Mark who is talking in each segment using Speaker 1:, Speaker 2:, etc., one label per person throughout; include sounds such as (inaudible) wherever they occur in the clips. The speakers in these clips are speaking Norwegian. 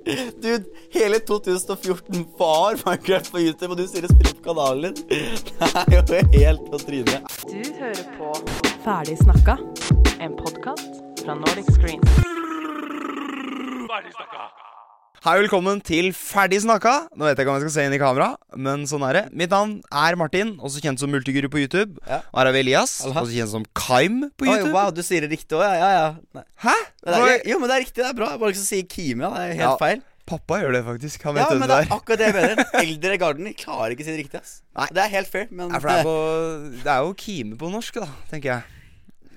Speaker 1: (laughs) Dude, hele 2014 var Minecraft på YouTube, og du sier det spiller på kanalen din. (laughs) Det er jo helt på trynet.
Speaker 2: Du hører på Ferdig snakka, en podkast fra Nordic Screen.
Speaker 3: Hei og velkommen til Ferdig snakka. Nå vet jeg ikke om jeg skal se inn i kamera, men sånn er det. Mitt navn er Martin, også kjent som Multiguru på YouTube.
Speaker 1: Ja.
Speaker 3: Og her har vi Elias,
Speaker 1: Hallo.
Speaker 3: også kjent som Kaim på
Speaker 1: Oi,
Speaker 3: YouTube.
Speaker 1: wow, du sier det riktig òg, ja? Ja, ja. Nei.
Speaker 3: Hæ?
Speaker 1: Men det er, jo, men det er riktig, det er bra. Jeg Bare ikke si Kime, ja, det er helt
Speaker 3: Ja.
Speaker 1: feil.
Speaker 3: Pappa gjør det faktisk.
Speaker 1: Ja,
Speaker 3: Han vet hvem
Speaker 1: men
Speaker 3: det
Speaker 1: det
Speaker 3: er.
Speaker 1: er akkurat det jeg mener. Eldre Garden de klarer ikke å si det riktig, ass.
Speaker 3: Nei.
Speaker 1: Det er helt fair, men
Speaker 3: Ja, for det er, på, det er jo Kime på norsk, da, tenker jeg.
Speaker 1: (laughs)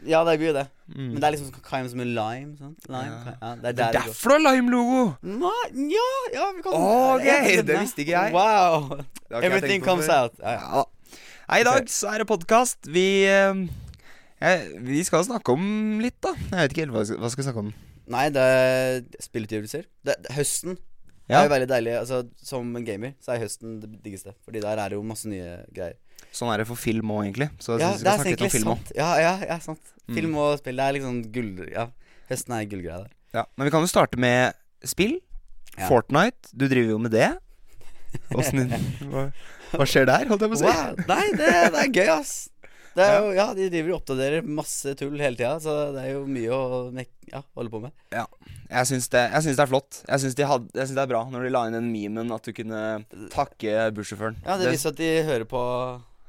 Speaker 1: Ja, det er gøy, det. Men det er liksom sånn Kime som en lime. Sant? Lime,
Speaker 3: Mm. Ja.
Speaker 1: Kime. ja, det er der det går.
Speaker 3: Derfor har Lime-logo!
Speaker 1: Nei, ja, ja, vi kan
Speaker 3: Å,
Speaker 1: Ja,
Speaker 3: ok,
Speaker 1: skjønner.
Speaker 3: det visste ikke jeg.
Speaker 1: Wow.
Speaker 3: Det har ikke
Speaker 1: (laughs)
Speaker 3: jeg
Speaker 1: Everything
Speaker 3: tenkt på
Speaker 1: comes
Speaker 3: før.
Speaker 1: out. Ja, ja.
Speaker 3: Ja da. Nei, i dag så er det podkast. Vi eh, eh, Vi skal snakke om litt, da. Jeg vet ikke helt hva vi skal- hva skal vi snakke om.
Speaker 1: Nei, det er spillutgivelser. Det, det, høsten
Speaker 3: Ja.
Speaker 1: er jo veldig deilig. Altså, som en gamer så er høsten det diggeste. Fordi der er det jo masse nye greier.
Speaker 3: Sånn er det for film òg, egentlig. Så jeg
Speaker 1: Ja,
Speaker 3: synes Altså, vi skal snakke litt om film Mm. òg.
Speaker 1: sant. Ja, ja, ja, sant. Film og spill, det er liksom gull... Ja, høsten er gullgreia der.
Speaker 3: Ja, Men vi kan jo starte med spill.
Speaker 1: Ja.
Speaker 3: Fortnite, du driver jo med det.
Speaker 1: (laughs)
Speaker 3: Åssen hva, hva skjer der, holdt jeg på å si?
Speaker 1: Wow, nei, det, det er gøy, ass. Det er jo, ja, De driver og oppdaterer masse tull hele tida, så det er jo mye å mek ja, holde på med.
Speaker 3: Ja. Jeg syns det, jeg syns det er flott. Jeg syns, de hadde, jeg syns det er bra når de la inn den memen at du kunne takke bussjåføren.
Speaker 1: Ja, Det viser at de hører på,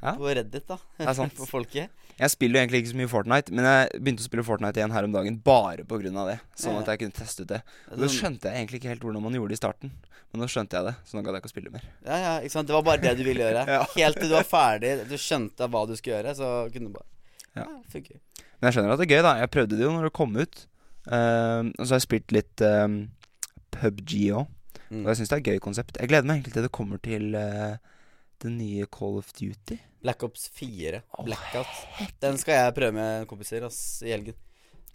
Speaker 3: Ja.
Speaker 1: på Reddit, da.
Speaker 3: er sant.
Speaker 1: (laughs) på folket.
Speaker 3: jeg spiller jo egentlig ikke så mye Fortnite, men jeg begynte å spille Fortnite igjen her om dagen bare pga. det. Sånn
Speaker 1: Ja.
Speaker 3: at jeg kunne teste ut det. Og Da skjønte jeg egentlig ikke helt hvordan man gjorde det i starten, men nå skjønte jeg det. Så nå gadd jeg ikke å spille mer.
Speaker 1: Ja, ja, ikke sant? Det var bare det du ville gjøre.
Speaker 3: (laughs) Ja.
Speaker 1: Helt til du var ferdig, du skjønte hva du skulle gjøre, så kunne du bare
Speaker 3: Ja.
Speaker 1: funker.
Speaker 3: Men jeg skjønner at det er gøy, da. Jeg prøvde det jo når det kom ut. Ehm, og så har jeg spilt litt ehm, PubG òg.
Speaker 1: Mm.
Speaker 3: Og jeg syns det er et gøy konsept. Jeg gleder meg egentlig til det kommer til eh, det nye Call of Duty.
Speaker 1: Black Ops 4, Blackout. Den skal jeg prøve med kompiser ass, i helgen.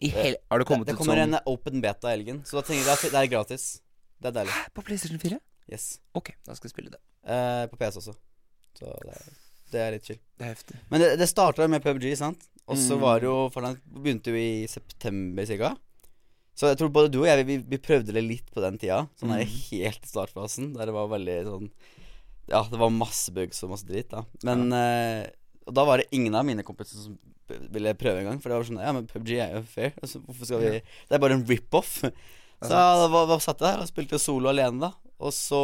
Speaker 3: I hel Eh, har det
Speaker 1: Det,
Speaker 3: kommet
Speaker 1: det
Speaker 3: ut
Speaker 1: kommer
Speaker 3: sånn
Speaker 1: en open beta i helgen, så da tenker jeg at det er gratis. Det er deilig.
Speaker 3: på PlayStation 4?
Speaker 1: Yes.
Speaker 3: Ok, da skal jeg spille det.
Speaker 1: Eh, på PC også. Så det er, det er litt chill.
Speaker 3: Det er heftig.
Speaker 1: Men det, det starta med PubG, sant? Og så
Speaker 3: Mm.
Speaker 1: var det jo Fortnite begynte jo i september cirka. Så jeg tror både du og jeg, vi, vi prøvde det litt på den tida. Sånn der helt i startfasen, der det var veldig sånn Ja, det var masse bugs og masse dritt, da. Men eh, Og da var det ingen av mine kompiser som ville prøve engang. For det var sånn Ja, men PubG er jo fair. Altså, hvorfor skal vi Det er bare en rip-off. (laughs) Så da var, var, satt jeg der og spilte solo alene, da. Og så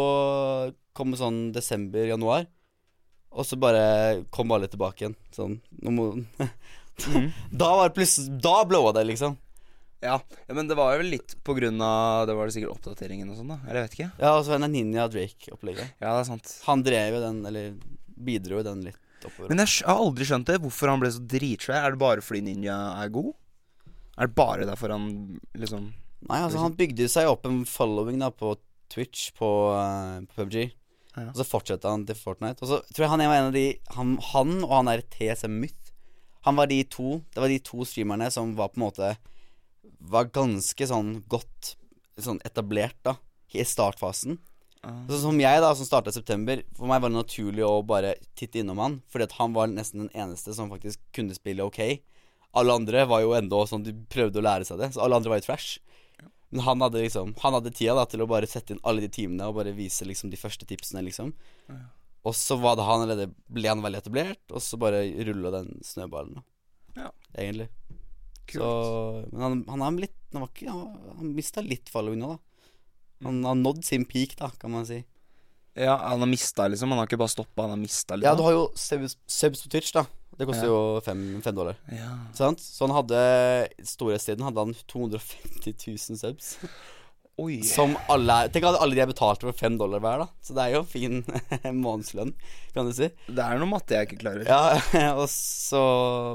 Speaker 1: kom det sånn desember-januar. Og så bare kom alle tilbake igjen. Sånn nå må, (laughs) Da var det plutselig Da blåa det, liksom.
Speaker 3: Ja. ja, men det var jo vel litt på grunn av Det var det sikkert oppdateringen og sånn, da. Eller jeg vet ikke.
Speaker 1: Ja, og så var det Ninja Drake-opplegget.
Speaker 3: Ja, det er sant.
Speaker 1: Han drev jo den, eller bidro jo den litt oppover.
Speaker 3: Men jeg skj- har aldri skjønt det. Hvorfor han ble så dritsvær. Er det bare fordi ninja er god? Er det bare derfor han liksom
Speaker 1: Nei, altså han bygde seg opp en following da på Twitch, på, eh, på PubG.
Speaker 3: Ja.
Speaker 1: Og så fortsatte han til Fortnite. Og så tror jeg han var en av de Han, han og han der TSM Myth, han var de to Det var de to streamerne som var på en måte Var ganske sånn godt sånn etablert, da, i startfasen. Sånn som jeg, da, som starta i september, for meg var det naturlig å bare titte innom han, fordi at han var nesten den eneste som faktisk kunne spille ok. Alle andre var jo enda sånn, de prøvde å lære seg det, så alle andre var jo trash. Men han hadde liksom Han hadde tida da til å bare sette inn alle de timene og bare vise liksom de første tipsene, liksom. Og så var det han allerede ble han veldig etablert, og så bare rulla den snøballen, da.
Speaker 3: Ja.
Speaker 1: Egentlig.
Speaker 3: Kult.
Speaker 1: Så, men han, han er litt Han, var ikke, han, han mista litt following nå, da.
Speaker 3: Mm.
Speaker 1: Han har nådd sin peak, da, kan man si.
Speaker 3: Ja, han har mista, liksom. Han har ikke bare stoppa, han har mista,
Speaker 1: Ja, du
Speaker 3: liksom.
Speaker 1: har jo subs, subs på Twitch, da. Det koster jo fem, fem dollar.
Speaker 3: Ja,
Speaker 1: Sant? Så han hadde i storhetstiden hadde han 250 000 subs.
Speaker 3: Oi.
Speaker 1: Som alle er Tenk at alle de er betalt for fem dollar hver, da. Så det er jo en fin (laughs) månedslønn, kan du si.
Speaker 3: Det er noe matte jeg ikke klarer.
Speaker 1: Ja, (laughs) og så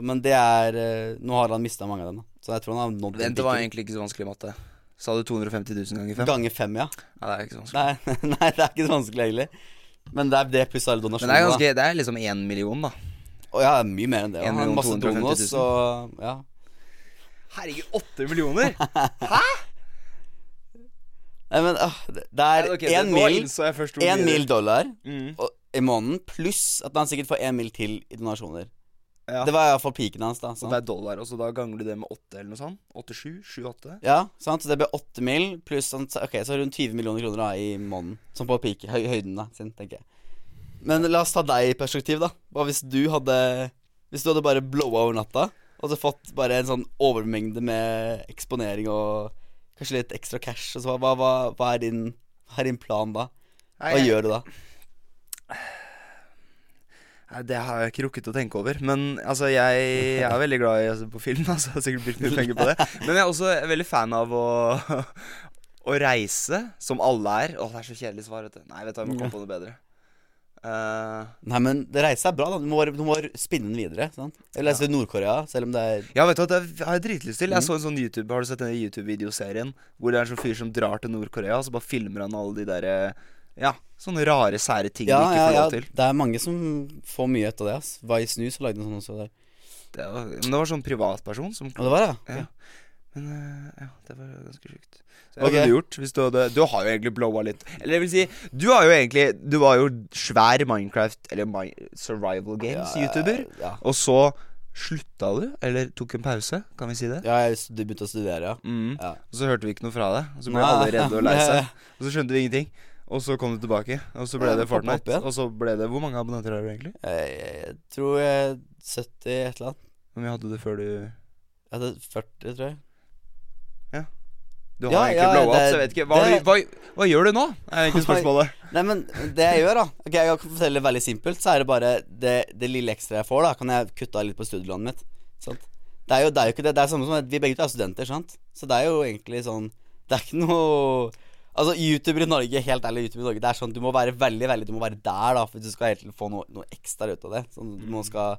Speaker 1: Men det er eh, Nå har han mista mange av dem, da. Så jeg tror han har nådd den
Speaker 3: Vent, det var
Speaker 1: piken.
Speaker 3: egentlig ikke så vanskelig matte. Sa du 250 000 ganger 5?
Speaker 1: Ganger fem, ja. (laughs)
Speaker 3: Ja, det er ikke så vanskelig.
Speaker 1: Nei, nei, det er ikke så vanskelig, egentlig. Men det er det pluss alle
Speaker 3: Men det er,
Speaker 1: donasjonene.
Speaker 3: ganske, det er liksom én million, da.
Speaker 1: da. Og ja, mye mer enn det.
Speaker 3: En
Speaker 1: Han har
Speaker 3: million
Speaker 1: masse
Speaker 3: 250 000.
Speaker 1: donos, og ja.
Speaker 3: Herregud, åtte (laughs) millioner!
Speaker 1: Nei, men ah, det- det er én mil, en mil dollar
Speaker 3: Mm.
Speaker 1: og, i måneden, pluss at han sikkert får én mil til i donasjoner.
Speaker 3: Ja.
Speaker 1: Det var iallfall piken hans, da.
Speaker 3: Og
Speaker 1: Sant?
Speaker 3: det er dollar, og så da ganger du det med åtte eller noe sånt. Åtte, sju, sju, åtte.
Speaker 1: Ja, sant? Så det ble 8 mil, pluss sånn, Ok, så rundt 20 millioner kroner da i måneden. Sånn på peak, høy, høyden da, sin, tenker jeg. Men la oss ta deg i perspektiv, da. Hva hvis du hadde Hvis du hadde bare blowa over natta, og så fått bare en sånn overmengde med eksponering og kanskje litt ekstra cash, og så hva- hva, hva, hva, er, din, hva er din plan da? Hva
Speaker 3: Nei,
Speaker 1: gjør du da?
Speaker 3: Nei, Det har jeg ikke rukket å tenke over. Men altså, jeg, jeg er veldig glad i å se på film. (laughs) Altså, jeg har sikkert brukt mye penger på det. Men jeg er også veldig fan av å, (laughs) å reise, som alle er. Å, det er så kjedelig svar, vet du. Nei, vet du, hva, jeg må komme på noe bedre. Eh,
Speaker 1: Nei, men det reise er bra, da. Du må, bare- du må spinne den videre. sant? Eller reise til Nord-Korea, selv om det er
Speaker 3: ja, vet du hva, det har jeg dritlyst til. Jeg
Speaker 1: Mm.
Speaker 3: så en sånn YouTube, Har du sett denne YouTube-videoserien hvor det er en sånn fyr som drar til Nord-Korea, og så bare filmer han alle de derre Ja, sånne rare, sære ting
Speaker 1: Ja,
Speaker 3: du ikke
Speaker 1: ja,
Speaker 3: får
Speaker 1: ja.
Speaker 3: lov til.
Speaker 1: Det er mange som får mye ut av det. ass Vice News har lagd en sånn også. der
Speaker 3: Det var, men det var sånn privatperson som
Speaker 1: Og det var det? ja.
Speaker 3: Ja. Men eh, ja, det var ganske sjukt.
Speaker 1: Ok.
Speaker 3: Så Hva hadde du gjort hvis du hadde Du har jo egentlig blowa litt. Eller det vil si, du har jo egentlig Du var jo svær Minecraft eller Mi Survival Games-youtuber.
Speaker 1: Ja,
Speaker 3: Og så slutta du, eller tok en pause, kan vi si det?
Speaker 1: ja jeg stu- begynte å studere, ja.
Speaker 3: Mm.
Speaker 1: Ja. Ah.
Speaker 3: Og så hørte vi ikke noe fra deg. Og så ble
Speaker 1: Nei.
Speaker 3: alle redde og lei
Speaker 1: (laughs)
Speaker 3: seg. Og så skjønte vi ingenting. Og så kom du tilbake, og så ble
Speaker 1: Ja,
Speaker 3: det
Speaker 1: poppa opp
Speaker 3: Fortnite.
Speaker 1: igjen.
Speaker 3: Og så ble det Hvor mange abonnenter har du egentlig?
Speaker 1: Jeg, jeg tror jeg 70 et eller annet.
Speaker 3: Hvor mye hadde du før du
Speaker 1: Jeg hadde 40, tror jeg.
Speaker 3: Du har
Speaker 1: Ja,
Speaker 3: egentlig
Speaker 1: ja,
Speaker 3: blowa opp,
Speaker 1: det-
Speaker 3: så jeg vet ikke. Hva,
Speaker 1: det-
Speaker 3: hva, hva, hva gjør du nå? er egentlig spørsmålet.
Speaker 1: Nei, men det jeg gjør, da Ok, Jeg kan fortelle veldig simpelt, så er det bare det, det lille ekstra jeg får, da, kan jeg kutte av litt på studielånet mitt. Sant? Det er jo, det er jo ikke det. Det er samme som at vi begge to er studenter, sant. Så det er jo egentlig sånn Det er ikke noe Altså, YouTuber i Norge, helt ærlig, YouTuber i Norge, det er sånn du må være veldig, veldig Du må være der, da, for du skal helt få noe, noe ekstra ut av det. Sånn, du må skal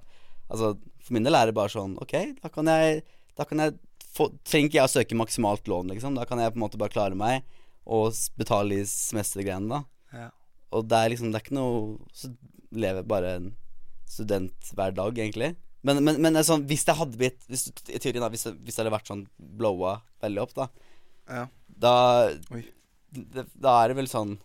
Speaker 1: Altså, for min del er det bare sånn Ok, da kan jeg Da kan jeg få, Trenger ikke jeg å søke maksimalt lån, liksom. Da kan jeg på en måte bare klare meg og s- betale de semestergreiene, da.
Speaker 3: Ja.
Speaker 1: Og det er liksom Det er ikke noe Så lever jeg bare en student hver dag, egentlig. Men, men, men det er sånn, hvis det hadde blitt hvis, I teorien, da, hvis, det- hvis det hadde vært sånn blowa veldig opp, da
Speaker 3: Ja.
Speaker 1: da,
Speaker 3: Oi.
Speaker 1: det, da er det vel sånn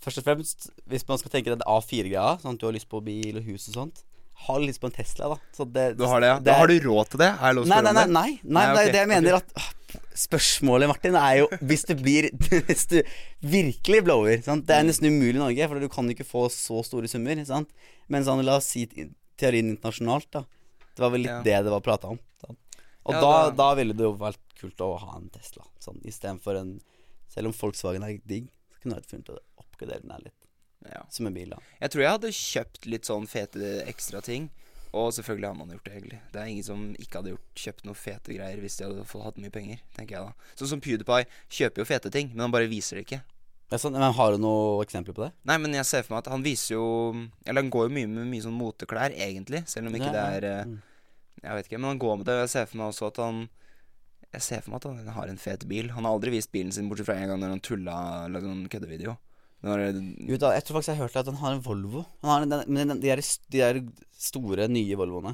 Speaker 1: Først og fremst, hvis man skal tenke den A4-greia, sånn at du har lyst på bil og hus og sånt Ha lyst på en Tesla, da. Så det,
Speaker 3: Du har det, ja?
Speaker 1: det
Speaker 3: Da
Speaker 1: er-
Speaker 3: har du råd til det? Er jeg lov til å
Speaker 1: Nei,
Speaker 3: spørre
Speaker 1: nei,
Speaker 3: om
Speaker 1: nei,
Speaker 3: det?
Speaker 1: nei, nei,
Speaker 3: Nei,
Speaker 1: det
Speaker 3: ok,
Speaker 1: er det jeg mener at Åh, Spørsmålet, Martin, er jo hvis du blir (laughs) Hvis du virkelig blower sant? Det er nesten umulig i Norge, for du kan ikke få så store summer. Sant? Men sånn, la oss si i- teorien internasjonalt, da. Det var vel litt
Speaker 3: Ja.
Speaker 1: det det var prata om. Sant? Og
Speaker 3: Ja,
Speaker 1: da,
Speaker 3: det-
Speaker 1: da ville det jo vært kult å ha en Tesla, sånn, istedenfor en Selv om Volkswagen er digg, så kunne jeg vært funnet å oppgradere den her litt,
Speaker 3: Ja.
Speaker 1: som en bil, da.
Speaker 3: Jeg tror jeg hadde kjøpt litt sånn fete ekstra ting. Og selvfølgelig har man gjort det, egentlig. Det er ingen som ikke hadde gjort, kjøpt noe fete greier hvis de hadde fått, hatt mye penger, tenker jeg da. Sånn som PewDiePie kjøper jo fete ting, men han bare viser det ikke.
Speaker 1: Ja, sånn, men har du noen eksempler på det?
Speaker 3: Nei, men jeg ser for meg at han viser jo Eller han går jo mye med mye sånn moteklær, egentlig, selv om ikke
Speaker 1: Ja,
Speaker 3: det
Speaker 1: ja.
Speaker 3: er eh,
Speaker 1: Mm.
Speaker 3: Jeg vet ikke, men han går med det, og jeg ser for meg også at han Jeg ser for meg at han har en fet bil. Han har aldri vist bilen sin, bortsett fra en gang når han tulla lagde en køddevideo. Når
Speaker 1: Jo, da, jeg tror faktisk jeg hørte at han har en Volvo. Han har en- den, men den, de, er, de er store, nye Volvoene.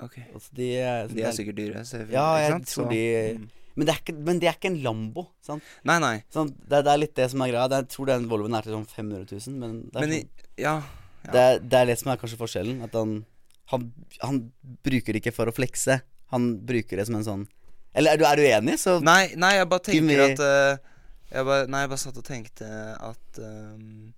Speaker 3: Ok.
Speaker 1: Altså, de, er-
Speaker 3: De er sikkert dyre. Så,
Speaker 1: Ja, jeg
Speaker 3: ikke sant?
Speaker 1: tror
Speaker 3: Så- Mm.
Speaker 1: de men det, er ikke, men det er ikke en Lambo. Sant?
Speaker 3: Nei, nei.
Speaker 1: Sånn, det, det er litt det som er greia. Det- Jeg tror den Volvoen er til sånn 500 000, men det er,
Speaker 3: Men i,
Speaker 1: sånn,
Speaker 3: ja. ja.
Speaker 1: det, er, det er det som er kanskje forskjellen. At han, han, han bruker det ikke for å flekse. Han bruker det som en sånn Eller er du, er du enig, så
Speaker 3: Nei, nei, jeg bare
Speaker 1: Give
Speaker 3: tenker
Speaker 1: me-
Speaker 3: at eh, jeg bare, Nei, jeg bare satt og tenkte at ehm,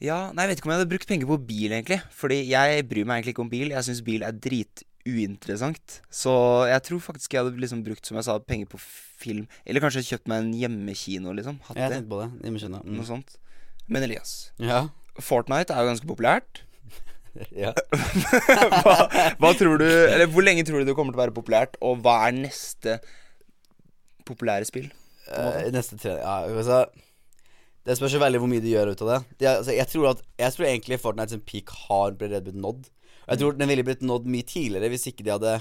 Speaker 3: Ja, nei, jeg vet ikke om jeg hadde brukt penger på bil, egentlig. Fordi jeg bryr meg egentlig ikke om bil. Jeg syns bil er drituinteressant. Så jeg tror faktisk jeg hadde liksom brukt, som jeg sa, penger på film. Eller kanskje kjøpt meg en hjemmekino, liksom. Hatt
Speaker 1: Jeg
Speaker 3: det.
Speaker 1: tenkte på det. Jeg må skjønne.
Speaker 3: Noe
Speaker 1: Mm.
Speaker 3: sånt. Men Elias,
Speaker 1: Ja. (laughs)
Speaker 3: Fortnite er jo ganske populært.
Speaker 1: ja.
Speaker 3: hva, hva tror du Eller hvor lenge tror du det kommer til å være populært, og hva er neste populære spill?
Speaker 1: Eh, neste tre Ja, altså Det spørs jo veldig hvor mye de gjør ut av det. De, er- altså, jeg, tror at, jeg tror egentlig Fortnite sin peak har blitt redd blitt nådd. Og jeg tror den ville blitt nådd mye tidligere hvis ikke de hadde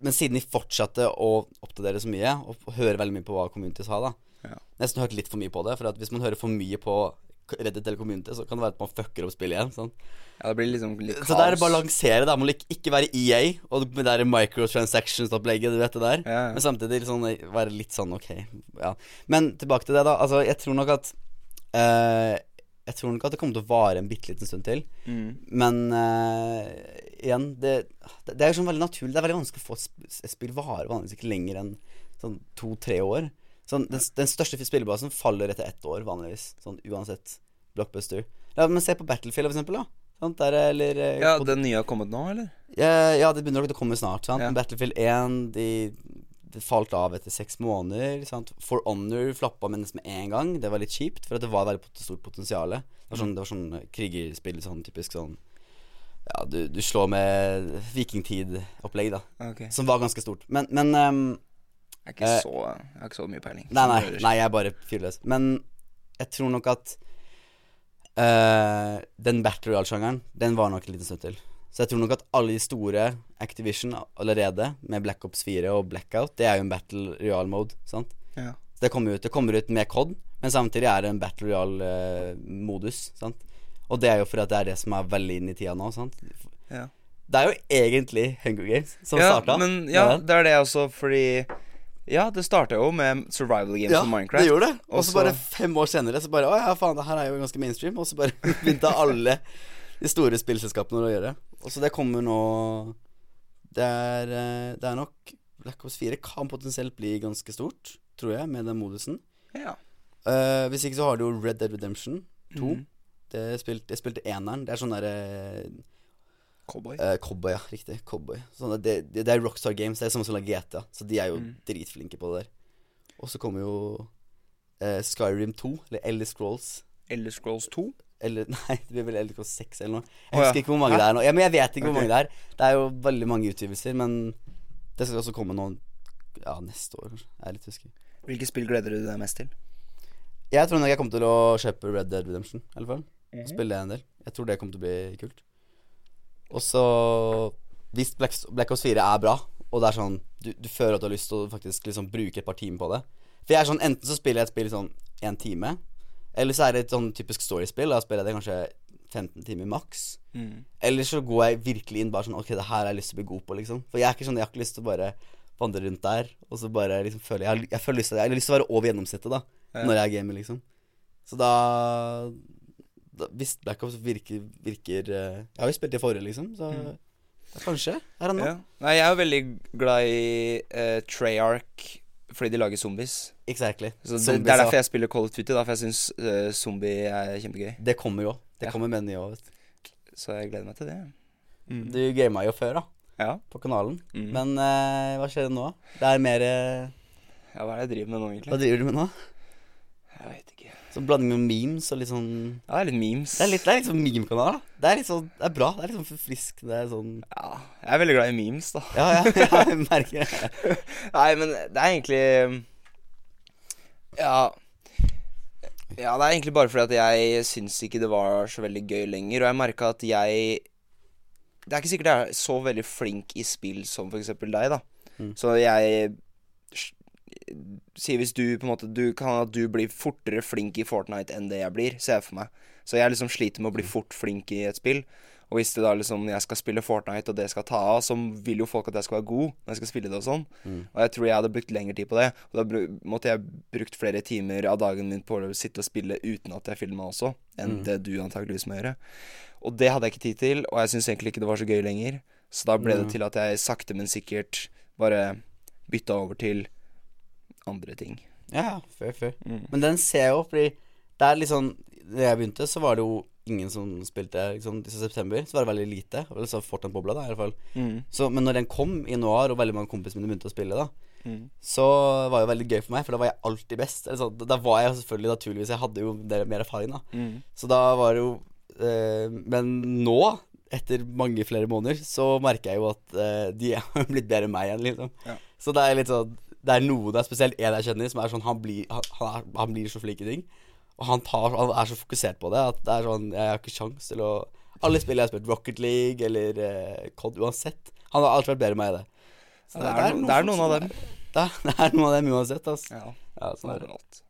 Speaker 1: Men siden de fortsatte å oppdatere så mye, og f- høre veldig mye på hva community sa, da.
Speaker 3: Ja.
Speaker 1: Nesten hørt litt for mye på det. For at hvis man hører for mye på Reddit eller community, så kan det være at man fucker opp spillet igjen. Sant?
Speaker 3: Ja, det blir liksom litt kaos.
Speaker 1: Så det er å balansere. Da må det ikke- ikke være EA og det der microtransactions-opplegget. Du vet det der
Speaker 3: Ja, ja.
Speaker 1: Men samtidig liksom være litt sånn ok. Ja. Men tilbake til det, da. Altså, jeg tror nok at eh, Jeg tror nok at det kommer til å vare en bitte liten stund til. Men eh, igjen, det, det er jo sånn veldig naturlig. Det er veldig vanskelig å få et sp- et spill vare vanligvis ikke lenger enn sånn to-tre år. Sånn, den, den største spillebasen faller etter ett år, vanligvis. Sånn uansett blockbuster. Ja, men se på Battlefield, for eksempel, da. Sant? Der, eller eh,
Speaker 3: Ja,
Speaker 1: på-
Speaker 3: den nye har kommet nå, eller?
Speaker 1: Eh, ja, det begynner nok å komme snart. Sant?
Speaker 3: Ja.
Speaker 1: Battlefield 1 de, de falt av etter seks måneder. Sant? For Honor flappa med nesten med én gang. Det var litt kjipt, for at det var veldig pot- stort potensial. Det var sånn, det var sånn krigerspill, sånn typisk sånn Ja, du, du slår med vikingtid-opplegg, da.
Speaker 3: Ok. Jeg
Speaker 1: Som var ganske stort. Men, men ehm,
Speaker 3: er ikke
Speaker 1: Eh,
Speaker 3: så, jeg har ikke så mye peiling.
Speaker 1: Nei,
Speaker 3: som
Speaker 1: nei,
Speaker 3: hører.
Speaker 1: nei jeg er bare fyrløs. Men jeg tror nok at eh, den battle royale-sjangeren, den var nok en liten stund til. Så jeg tror nok at alle de store Activision allerede, med Black Ops 4 og Blackout, det er jo en battle royale-mode, sant?
Speaker 3: Ja.
Speaker 1: Så det kommer ut, det kommer ut med COD, men samtidig er det en battle royale-modus, sant? Og det er jo fordi at det er det som er veldig inn i tida nå, sant?
Speaker 3: Ja.
Speaker 1: Det er jo egentlig Hunger Games som
Speaker 3: ja,
Speaker 1: starta.
Speaker 3: Men, ja, det er det også, fordi Ja, det starta jo med survival games og Minecraft.
Speaker 1: det gjorde det. Og
Speaker 3: Også-
Speaker 1: så bare fem år senere så bare Å ja, faen, det her er jo ganske mainstream. Og så bare (laughs) begynte alle de store spillselskapene å gjøre. Og så det kommer nå Det er, eh, det er nok Black Ops 4 kan potensielt bli ganske stort, tror jeg, med den modusen.
Speaker 3: Ja.
Speaker 1: Eh, hvis ikke så har du jo Red Dead Redemption 2.
Speaker 3: Mhm.
Speaker 1: Det spilte, jeg spilte eneren. Det er sånn derre
Speaker 3: Cowboy.
Speaker 1: Eh, cowboy, ja. Riktig. Cowboy. Sånn at det, det, det er Rockstar Games. Det er samme som lager GTA. Så de er jo
Speaker 3: Mm.
Speaker 1: dritflinke på det der. Og så kommer jo eh, Skyrim 2, eller Elder Scrolls.
Speaker 3: Elder Scrolls 2.
Speaker 1: Eller (laughs) nei, det blir vel Elder Scrolls 6 eller noe. Jeg
Speaker 3: Å, ja.
Speaker 1: husker ikke hvor mange
Speaker 3: Hæ?
Speaker 1: det er nå. Ja, men jeg vet ikke hvor
Speaker 3: Ok.
Speaker 1: mange det er. Det er jo veldig mange utgivelser, men det skal også komme nå ja, neste år, kanskje. Jeg er litt husker.
Speaker 3: Hvilke spill gleder du deg mest til?
Speaker 1: Jeg tror nok jeg kommer til å kjøpe Red Dead Redemption, i alle fall. Spille det en del. Jeg tror det kommer til å bli kult. Og så Hvis Black, Black Ops 4 er bra, og det er sånn du, du føler at du har lyst til å faktisk liksom bruke et par timer på det For jeg er sånn Enten så spiller jeg et spill sånn én time, eller så er det et sånn typisk storiespill. Da spiller jeg det kanskje 15 timer maks.
Speaker 3: Mm.
Speaker 1: Eller så går jeg virkelig inn bare sånn Ok, det her har jeg lyst til å bli god på, liksom. For jeg er ikke sånn Jeg har ikke lyst til å bare vandre rundt der og så bare liksom føle Jeg har, jeg føler lyst til, jeg har lyst til å være over gjennomsnittet, da.
Speaker 3: Ja.
Speaker 1: Når jeg er gamer, liksom. Så da, da Hvis Black Ops virker, virker eh, Jeg har jo spilt det forrige, liksom, så
Speaker 3: Mm.
Speaker 1: ja, kanskje. Her og nå.
Speaker 3: Ja. Nei, jeg er jo veldig glad i eh, Treyarch fordi de lager zombies.
Speaker 1: Exactly.
Speaker 3: Så det,
Speaker 1: Zombies,
Speaker 3: det er derfor
Speaker 1: ja.
Speaker 3: jeg spiller Call of Duty, da, for jeg syns zombie er kjempegøy.
Speaker 1: Det kommer jo. Det
Speaker 3: Ja.
Speaker 1: kommer med nye òg, vet du.
Speaker 3: Så jeg gleder meg til det. Mm.
Speaker 1: Du gama jo før, da.
Speaker 3: Ja.
Speaker 1: På kanalen.
Speaker 3: Mm.
Speaker 1: Men eh, hva skjer nå? Det er mer eh,
Speaker 3: ja, hva er det jeg driver med nå,
Speaker 1: Hva
Speaker 3: egentlig?
Speaker 1: driver du med nå?
Speaker 3: Jeg vet ikke. Ja,
Speaker 1: Så blanding med memes og litt sånn
Speaker 3: det er litt memes.
Speaker 1: Det er litt, det er litt sånn meme-kanal, da. Det er litt sånn, det er bra. Det er litt sånn frisk. Det er sånn
Speaker 3: Ja, jeg er veldig glad i memes, da.
Speaker 1: Ja, ja, ja jeg merker det.
Speaker 3: (laughs) Nei, men det er egentlig Ja. Ja, det er egentlig bare fordi at jeg syns ikke det var så veldig gøy lenger. Og jeg merka at jeg Det er ikke sikkert jeg er så veldig flink i spill som f.eks. deg, da.
Speaker 1: Mm.
Speaker 3: Så jeg s- sier hvis du på en måte Du kan at du blir fortere flink i Fortnite enn det jeg blir, ser jeg for meg. Så jeg liksom sliter med å bli fort flink i et spill. Og hvis det da liksom jeg skal spille Fortnite, og det skal ta av, så vil jo folk at jeg skal være god når jeg skal spille det og sånn. Og jeg tror jeg hadde brukt lengre tid på det. Og da bru- måtte jeg brukt flere timer av dagen min på å sitte og spille uten at jeg filma også, enn det du antakeligvis må gjøre. Og det hadde jeg ikke tid til, og jeg syns egentlig ikke det var så gøy lenger. Så da ble det til at jeg sakte, men sikkert bare bytta over til andre ting.
Speaker 1: Ja, ja, fair, fair. Men den ser jeg jo, fordi det er litt sånn Da jeg begynte, så var det jo ingen som spilte liksom, i september. Så var sånn det veldig lite. Eller så Fortnite-bobla, da, i hvert fall. Så, men når den kom i januar, og veldig mange kompisene mine begynte å spille, da, så var det jo veldig gøy for meg, for da var jeg alltid best. Eller sånn, da- da var jeg jo selvfølgelig naturligvis Jeg hadde jo del- mer erfaring, da.
Speaker 3: Mm.
Speaker 1: Så da var det jo eh, Men nå, etter mange flere måneder, så merker jeg jo at eh, de (laughs) har blitt bedre enn meg igjen, liksom.
Speaker 3: Ja.
Speaker 1: Så det er litt sånn Det er noe, det er spesielt en jeg kjenner, som er sånn Han blir, han, han er, han blir så flink i ting. Og han, tar, han er så fokusert på det at det er sånn Jeg har ikke sjans til å Alle spill jeg har spilt, Rocket League eller eh, COD, uansett Han har alltid vært bedre enn meg i det. Så
Speaker 3: Ja, det er no- det er
Speaker 1: folk
Speaker 3: noen
Speaker 1: som
Speaker 3: av dem.
Speaker 1: Det er, (laughs) det er noen av dem uansett, altså.
Speaker 3: Ja,
Speaker 1: Ja, sånn er det.
Speaker 3: overalt.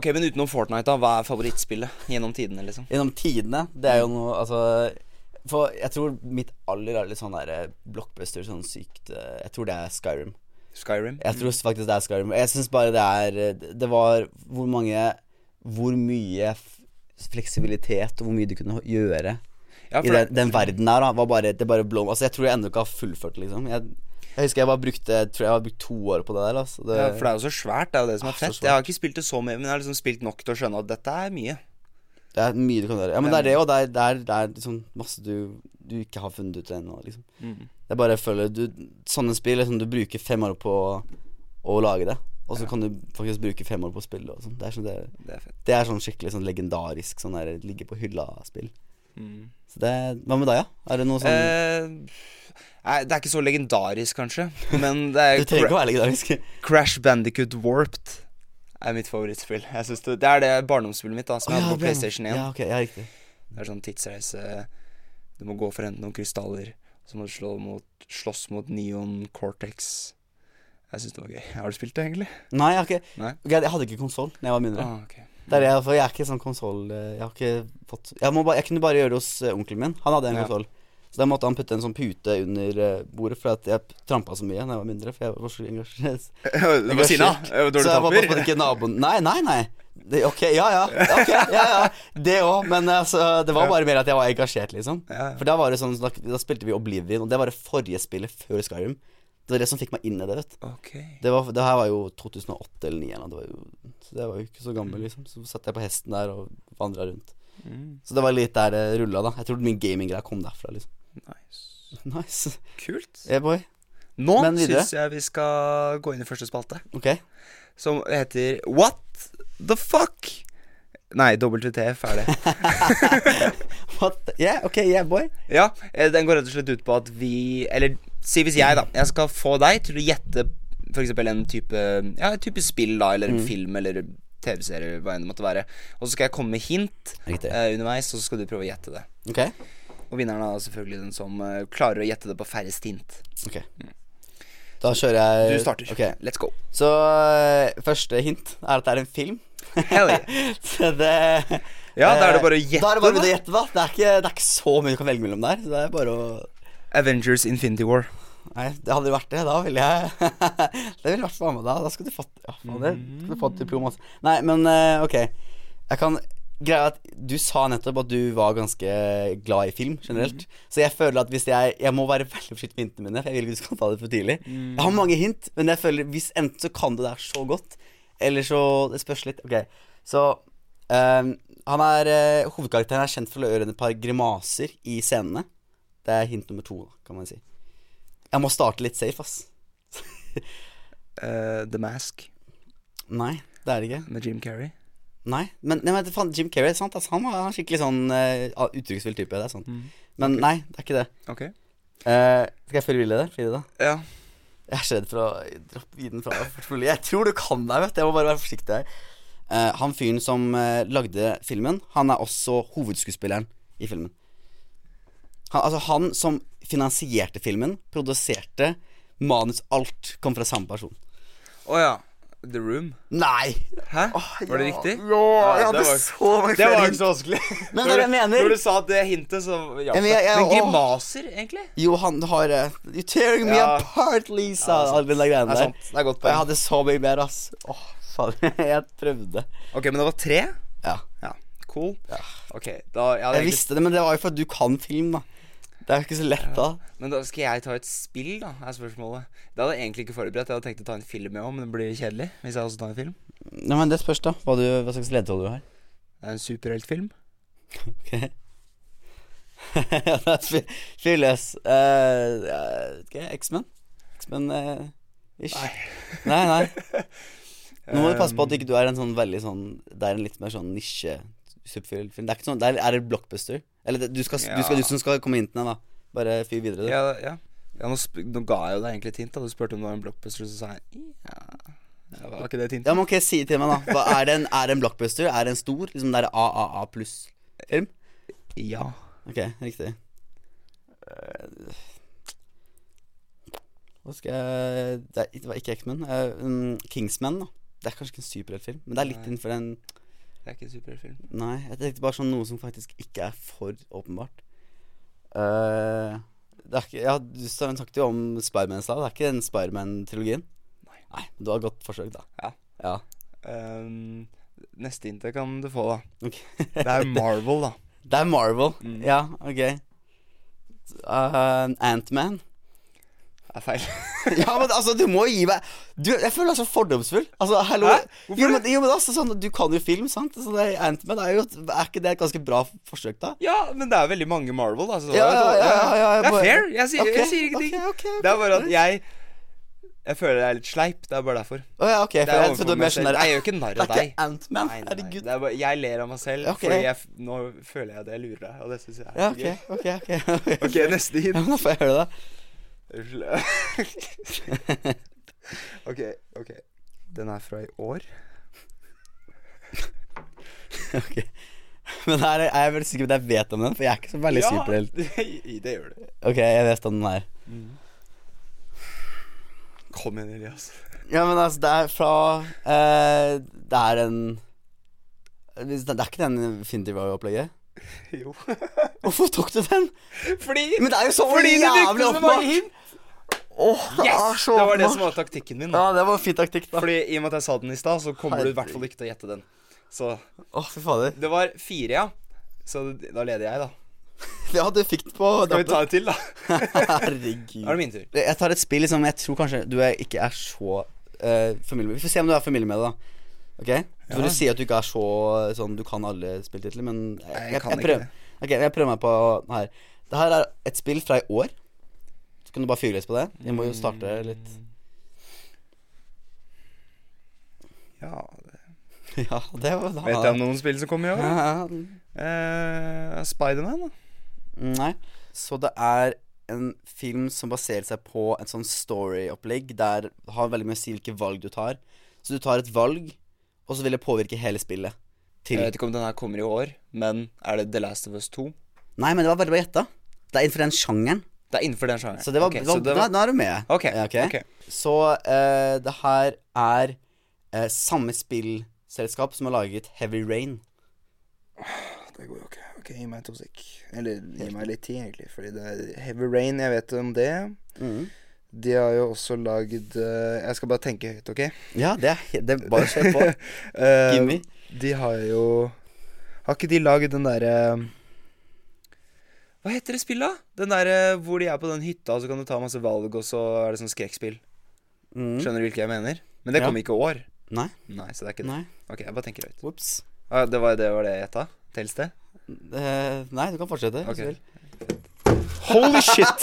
Speaker 3: Ok, men utenom Fortnite, da, hva er favorittspillet gjennom tidene, liksom?
Speaker 1: Gjennom tidene. Det er jo noe Altså For jeg tror mitt aller aller sånn derre blockbuster, sånn sykt eh, Jeg tror det er Skyrim.
Speaker 3: Skyrim?
Speaker 1: Jeg tror faktisk det er Skyrim. Jeg syns bare det er eh, Det var hvor mange Hvor mye f- fleksibilitet og hvor mye du kunne gjøre
Speaker 3: Ja,
Speaker 1: i
Speaker 3: for
Speaker 1: den, den verden der, da. Var bare, det bare blow Altså, jeg tror jeg ennå ikke har fullført, liksom. Jeg, jeg husker jeg bare brukte Jeg tror jeg har brukt to år på det der, altså. Det,
Speaker 3: Ja, for det er jo så svært. Det er jo det som
Speaker 1: Ah,
Speaker 3: er
Speaker 1: så
Speaker 3: fett.
Speaker 1: svært.
Speaker 3: Jeg har ikke spilt det så mye, men jeg har liksom spilt nok til å skjønne at dette er mye.
Speaker 1: det er mye du kan gjøre. Ja, men det er det, og det er, det er, det er liksom masse du, du ikke har funnet ut ennå, liksom.
Speaker 3: Mm.
Speaker 1: Det er bare jeg føler du, Sånne spill liksom, du bruker fem år på å, å lage det, og så kan du faktisk bruke fem år på å spille det og sånn. Det er sånn det er
Speaker 3: Det er fett.
Speaker 1: Det er sånn skikkelig sånn legendarisk sånn der ligge på hylla-spill.
Speaker 3: Mm.
Speaker 1: Så det Hva med deg, ja? Er det noe sånn
Speaker 3: Eh, nei, det er ikke så legendarisk, kanskje,
Speaker 1: (laughs)
Speaker 3: men det er
Speaker 1: Du trenger ikke å være legendarisk.
Speaker 3: Crash Bandicut Warped er mitt favorittspill. Jeg synes det, det er det barndomsspillet mitt da, som jeg
Speaker 1: Å,
Speaker 3: hadde
Speaker 1: bra.
Speaker 3: på PlayStation 1.
Speaker 1: Ja, ok, ja, riktig.
Speaker 3: Det er sånn tidsreise. Du må gå for å hente noen krystaller. Så må du slå mot, slåss mot Neon Cortex. Jeg syns det var gøy. Har du spilt det, egentlig?
Speaker 1: Nei, jeg har ikke
Speaker 3: Nei.
Speaker 1: Ok, Jeg hadde ikke konsoll da jeg var mindre.
Speaker 3: (laughs) Ah, ok.
Speaker 1: Det er det, for jeg er ikke sånn konsoll Jeg har ikke fått jeg, må ba, jeg kunne bare gjøre det hos eh, onkelen min. Han hadde en
Speaker 3: Ja.
Speaker 1: konsoll. Så da måtte han putte en sånn pute under eh, bordet, for at jeg trampa så mye da jeg var mindre. For jeg var så (laughs) engasjert.
Speaker 3: Du var sinna? Eh,
Speaker 1: Så
Speaker 3: Dårlig
Speaker 1: jeg var på en måte
Speaker 3: taper?
Speaker 1: ikke naboen Nei, nei, nei. Det, ok, ja ja. Ok, ja, ja. Det òg. Men altså, det var bare mer at jeg var engasjert, liksom.
Speaker 3: Ja, ja.
Speaker 1: For da var det sånn da, da spilte vi Oblivion, og det var det forrige spillet før Skyrim. Det var det som fikk meg inn i det, vet du.
Speaker 3: Ok.
Speaker 1: Det, var, det her var jo 2008 eller 2009 eller noe. Det var jo, så det var jo ikke så
Speaker 3: Mm.
Speaker 1: gammel, liksom. Så satt jeg på hesten der og vandra rundt. Så det var litt der det rulla, da. Jeg tror min gaminggreie kom derfra, liksom. (laughs)
Speaker 3: Nice.
Speaker 1: Nice.
Speaker 3: Kult.
Speaker 1: Yeah, boy.
Speaker 3: Nå
Speaker 1: Men videre?
Speaker 3: syns jeg vi skal gå inn i første spalte,
Speaker 1: Ok. (laughs)
Speaker 3: som heter What the fuck? Nei, WTF er det.
Speaker 1: What the, yeah, ok, yeah, boy.
Speaker 3: Ja, eh, den går rett og slett ut på at vi Eller si hvis jeg, da. Jeg skal få deg til å gjette f.eks. en type Ja, et type spill, da, eller
Speaker 1: Mm.
Speaker 3: en film, eller TV-serie, hva enn det måtte være. Og så skal jeg komme med hint
Speaker 1: Riktig.
Speaker 3: eh, underveis, og så skal du prøve å gjette det.
Speaker 1: Eh, Ok.
Speaker 3: Og vinneren er da selvfølgelig den som eh, klarer å gjette det på færrest hint.
Speaker 1: Ok. Da kjører
Speaker 3: Du
Speaker 1: jeg
Speaker 3: starter.
Speaker 1: Eh, Ok.
Speaker 3: Let's go.
Speaker 1: Så øh, første hint er at det er en film.
Speaker 3: Hell yeah.
Speaker 1: (laughs) Så det
Speaker 3: Ja, da er det
Speaker 1: eh,
Speaker 3: bare å gjette,
Speaker 1: Da er det bare å
Speaker 3: da.
Speaker 1: gjette, da. Det er, ikke, det er ikke så mye du kan velge mellom der. Så det er bare å
Speaker 3: Avengers Infinity War.
Speaker 1: Nei, det hadde det vært det, da ville jeg (laughs) Det ville vært faen meg da. Da skulle du fått Ja, faen, det skulle du fått diplom, altså. Nei, men eh, ok. Jeg kan Greia er at du sa nettopp at du var ganske glad i film generelt. Så jeg føler at hvis jeg Jeg må være (laughs) veldig forsiktig med hintene mine, for jeg vil ikke du skal ta det for tidlig. Jeg har mange hint, men jeg føler hvis enten så kan du det her så godt, eller så Det spørs litt. Ok, så eh, han er eh, Hovedkarakteren er kjent for å gjøre et par grimaser i scenene. Det er hint nummer to, da, kan man si. Jeg må starte litt safe, ass.
Speaker 3: eh, The Mask
Speaker 1: Nei, det er det ikke.
Speaker 3: med Jim Carrey.
Speaker 1: Nei, men nei, men faen, Jim Carrey, sant? ass, han var han er skikkelig sånn uh, uttrykksfull type. Det er sant. Men nei, det er ikke det.
Speaker 3: Ok.
Speaker 1: Eh, Mm. skal jeg følge videre? Fri det, da?
Speaker 3: Ja.
Speaker 1: Jeg er så redd for å droppe viden fra meg. fort mulig. Jeg tror du kan deg, vet du. Jeg må bare være forsiktig her. Eh, han fyren som eh, lagde filmen, han er også hovedskuespilleren i filmen. Han, altså, han som finansierte filmen, produserte manus, alt kom fra samme person.
Speaker 3: Å ja. The Room.
Speaker 1: Nei!
Speaker 3: Hæ? var det
Speaker 1: ja.
Speaker 3: riktig?
Speaker 1: Ja, jeg
Speaker 3: Ja,
Speaker 1: hadde
Speaker 3: det var-
Speaker 1: så mange
Speaker 3: Det
Speaker 1: flere
Speaker 3: var liksom- ikke
Speaker 1: hint.
Speaker 3: så vanskelig. (laughs)
Speaker 1: Men det er det jeg mener.
Speaker 3: Når du sa det hintet, så hjalp
Speaker 1: Ja,
Speaker 3: det.
Speaker 1: men jeg- jeg-
Speaker 3: men
Speaker 1: åh.
Speaker 3: grimaser, egentlig?
Speaker 1: Jo, han har eh, You're tearing me
Speaker 3: Ja.
Speaker 1: apart, Lisa.
Speaker 3: Ja, det er sant.
Speaker 1: Alle de
Speaker 3: Det
Speaker 1: greiene
Speaker 3: er
Speaker 1: der.
Speaker 3: sant. Det er godt
Speaker 1: Og jeg
Speaker 3: poeng.
Speaker 1: hadde så mye mer, ass. Åh, faen. (laughs) Jeg prøvde.
Speaker 3: Ok, men det var tre?
Speaker 1: Ja.
Speaker 3: Ja. Cool. Ok, da ja, det er
Speaker 1: Jeg visste det, men det var jo for at du kan film, da. Det er jo ikke så lett, da.
Speaker 3: egentlig- Men da skal jeg ta et spill, da, er spørsmålet. Det hadde jeg egentlig ikke forberedt. Jeg hadde tenkt å ta en film, jeg òg, men det blir kjedelig hvis jeg også tar en film.
Speaker 1: Nei, men Det spørs, da. Hva, du, hva slags ledetråd du har.
Speaker 3: Det er en superheltfilm.
Speaker 1: Ok (laughs) Ja, fyr- Fyr løs. Eh, ja, ok, X-Men? X-Men eh, ish?
Speaker 3: Nei. Ehm.
Speaker 1: nei,
Speaker 3: (laughs)
Speaker 1: nei. Nå må du passe på at ikke du er en sånn veldig sånn Det er en litt mer sånn nisje subfilm. Det er ikke sånn, det er, er det blockbuster? Eller det, du, skal, du, skal,
Speaker 3: Ja.
Speaker 1: du som skal komme inn til den, da. Bare fyr videre. du.
Speaker 3: Ja, ja. ja nå, sp nå ga jeg jo deg egentlig et hint. da Du spurte om det var en blockbuster, så sa jeg ja. ja var ikke det et hint?
Speaker 1: Ja, men ok, Si det til meg, da. Hva, er, det en, er det en blockbuster? Er det en stor? Liksom det er AAA pluss-film?
Speaker 3: ja.
Speaker 1: Ok, riktig. Eh, Hva skal jeg Det, er, det var ikke X-Men. eh, mm, Kingsman, da. Det er kanskje ikke en superheltfilm, men det er litt
Speaker 3: Nei.
Speaker 1: innenfor en
Speaker 3: Det er ikke en superheltfilm.
Speaker 1: Nei, jeg tenkte bare sånn noe som faktisk ikke er for åpenbart. Eh, det er ikke Ja, du sa- snakket jo om Spiderman i stad. Det er ikke den Spiderman-trilogien? Nei. Nei. Du har et godt forsøk, da.
Speaker 3: Ja.
Speaker 1: Ja.
Speaker 3: Um, neste inntek kan du få, da.
Speaker 1: Ok. (laughs)
Speaker 3: Det er jo Marvel, da.
Speaker 1: Det er Marvel.
Speaker 3: Mm.
Speaker 1: Ja, ok. Uh, Antman.
Speaker 3: Det er feil.
Speaker 1: (laughs)
Speaker 3: (laughs)
Speaker 1: Ja, men altså, du må gi meg du, Jeg føler deg så fordomsfull. Altså, hallo
Speaker 3: Hæ? Hvorfor
Speaker 1: jo, men, jo, men altså, sånn, Du kan jo film, sant? Så det, Antman er jo et- Er ikke det et ganske bra forsøk, da?
Speaker 3: Ja, men det er veldig mange Marvel, da. Så det
Speaker 1: Ja,
Speaker 3: var jo dårlig.
Speaker 1: ja, ja, ja, jeg
Speaker 3: det er
Speaker 1: bare-
Speaker 3: fair. Jeg sier,
Speaker 1: Ok,
Speaker 3: jeg sier ingenting.
Speaker 1: ok, ok, ok.
Speaker 3: Det er bare at jeg Jeg føler jeg er litt sleip. Det er bare derfor.
Speaker 1: Å ja, ok. For
Speaker 3: Det er
Speaker 1: jeg
Speaker 3: overfor
Speaker 1: trodde du
Speaker 3: meg
Speaker 1: mer sånn
Speaker 3: selv.
Speaker 1: der,
Speaker 3: Jeg gjør ikke narr av
Speaker 1: Det er
Speaker 3: deg.
Speaker 1: ikke Antman.
Speaker 3: Nei, nei, nei.
Speaker 1: Herregud.
Speaker 3: Det er bare, jeg ler av meg selv,
Speaker 1: Ok.
Speaker 3: fordi jeg, f- nå føler jeg at jeg lurer deg, og det syns jeg er
Speaker 1: Ja,
Speaker 3: så
Speaker 1: ok, ok. Ok,
Speaker 3: gøy. Ok,
Speaker 1: (laughs)
Speaker 3: neste
Speaker 1: Ja,
Speaker 3: (laughs) hint.
Speaker 1: men Da får jeg høre det.
Speaker 3: Unnskyld. ok, ok. Den er fra i år.
Speaker 1: Ok. (laughs) Men her er jeg er veldig sikker på at jeg vet om den, for jeg er ikke så veldig
Speaker 3: (laughs)
Speaker 1: superhelt.
Speaker 3: det gjør du.
Speaker 1: Ok, jeg vet om den her.
Speaker 3: Kom igjen, Elias. (laughs)
Speaker 1: Ja, men altså, det er fra eh, Det er en Det er ikke den Infinity War-opplegget?
Speaker 3: Jo.
Speaker 1: Hvorfor tok du den?
Speaker 3: Fordi
Speaker 1: Men det er jo så
Speaker 3: Fordi du brukte
Speaker 1: jævlig
Speaker 3: så mange
Speaker 1: oppmatt!
Speaker 3: hint!
Speaker 1: Åh, det er
Speaker 3: Yes!
Speaker 1: så
Speaker 3: Det var det
Speaker 1: oppmatt.
Speaker 3: som var taktikken min.
Speaker 1: Ja,
Speaker 3: Da.
Speaker 1: det var fin taktikk, da. Åh,
Speaker 3: Fordi i og med at jeg sa den i stad, så kommer du i hvert fall ikke til å gjette den. Så
Speaker 1: fy fader.
Speaker 3: det var fire, ja. Så da leder jeg, da.
Speaker 1: Ja, du fikk den på
Speaker 3: Skal vi ta en til, da?
Speaker 1: (laughs)
Speaker 3: (laughs)
Speaker 1: Herregud.
Speaker 3: Da er det min tur.
Speaker 1: Jeg tar et spill som jeg tror kanskje du er, ikke er så eh, familie med. Vi får se om du er familie med det, da. Ok? For
Speaker 3: Ja.
Speaker 1: Du sier at du ikke er så sånn Du kan alle spilltitler, men jeg,
Speaker 3: Nei, jeg
Speaker 1: jeg,
Speaker 3: kan
Speaker 1: jeg
Speaker 3: ikke
Speaker 1: prøver.
Speaker 3: det.
Speaker 1: Ok, jeg prøver meg på her. Det her er et spill fra i år. Så kan du bare fyre løs på det. Vi må jo starte litt (laughs)
Speaker 3: Ja,
Speaker 1: Ja, det var da.
Speaker 3: Vet jeg om noen spill som kommer i år?
Speaker 1: Ja.
Speaker 3: Eh, Spiderman, da.
Speaker 1: Nei. Så det er en film som baserer seg på et sånn story-opplegg der det har veldig mye å si hvilke valg du tar. Så du tar et valg, og så vil det påvirke hele spillet. Til
Speaker 3: Jeg vet ikke om den her kommer i år, men er det The Last of Us 2?
Speaker 1: Nei, men det var veldig bra gjetta. Det er innenfor den sjangeren.
Speaker 3: Det er innenfor den sjangeren.
Speaker 1: Så det var,
Speaker 3: Ok,
Speaker 1: det var,
Speaker 3: så det var-
Speaker 1: Da, da er du med.
Speaker 3: Ok,
Speaker 1: Ja, ok.
Speaker 3: ok.
Speaker 1: Så eh, det her er eh, samme spillselskap som har laget Heavy Rain.
Speaker 3: Det går jo ikke. Ok, Gi meg to sek. Eller gi meg litt tid, egentlig. Fordi det er Heavy Rain, jeg vet om det. Mm.
Speaker 1: Mhm.
Speaker 3: De har jo også lagd eh, Jeg skal bare tenke høyt, OK?
Speaker 1: Ja, det er he- det er bare å kjøre på.
Speaker 3: (laughs) Eh,
Speaker 1: Gimme.
Speaker 3: de har jo Har ikke de lagd den derre eh, Hva heter det spillet, da? Den derre eh, hvor de er på den hytta, og så kan du ta masse valg, og så er det sånn skrekkspill.
Speaker 1: Mhm.
Speaker 3: Skjønner du hvilket jeg mener? Men det
Speaker 1: Ja.
Speaker 3: kom ikke i år.
Speaker 1: Nei.
Speaker 3: Nei, så det er ikke det.
Speaker 1: Nei.
Speaker 3: Ok, jeg bare tenker høyt.
Speaker 1: Ops.
Speaker 3: Ah, det var det var det jeg gjetta? Tels det?
Speaker 1: Eh, nei, du kan fortsette. hvis
Speaker 3: Ok.
Speaker 1: du vil.
Speaker 3: Holy (laughs) shit!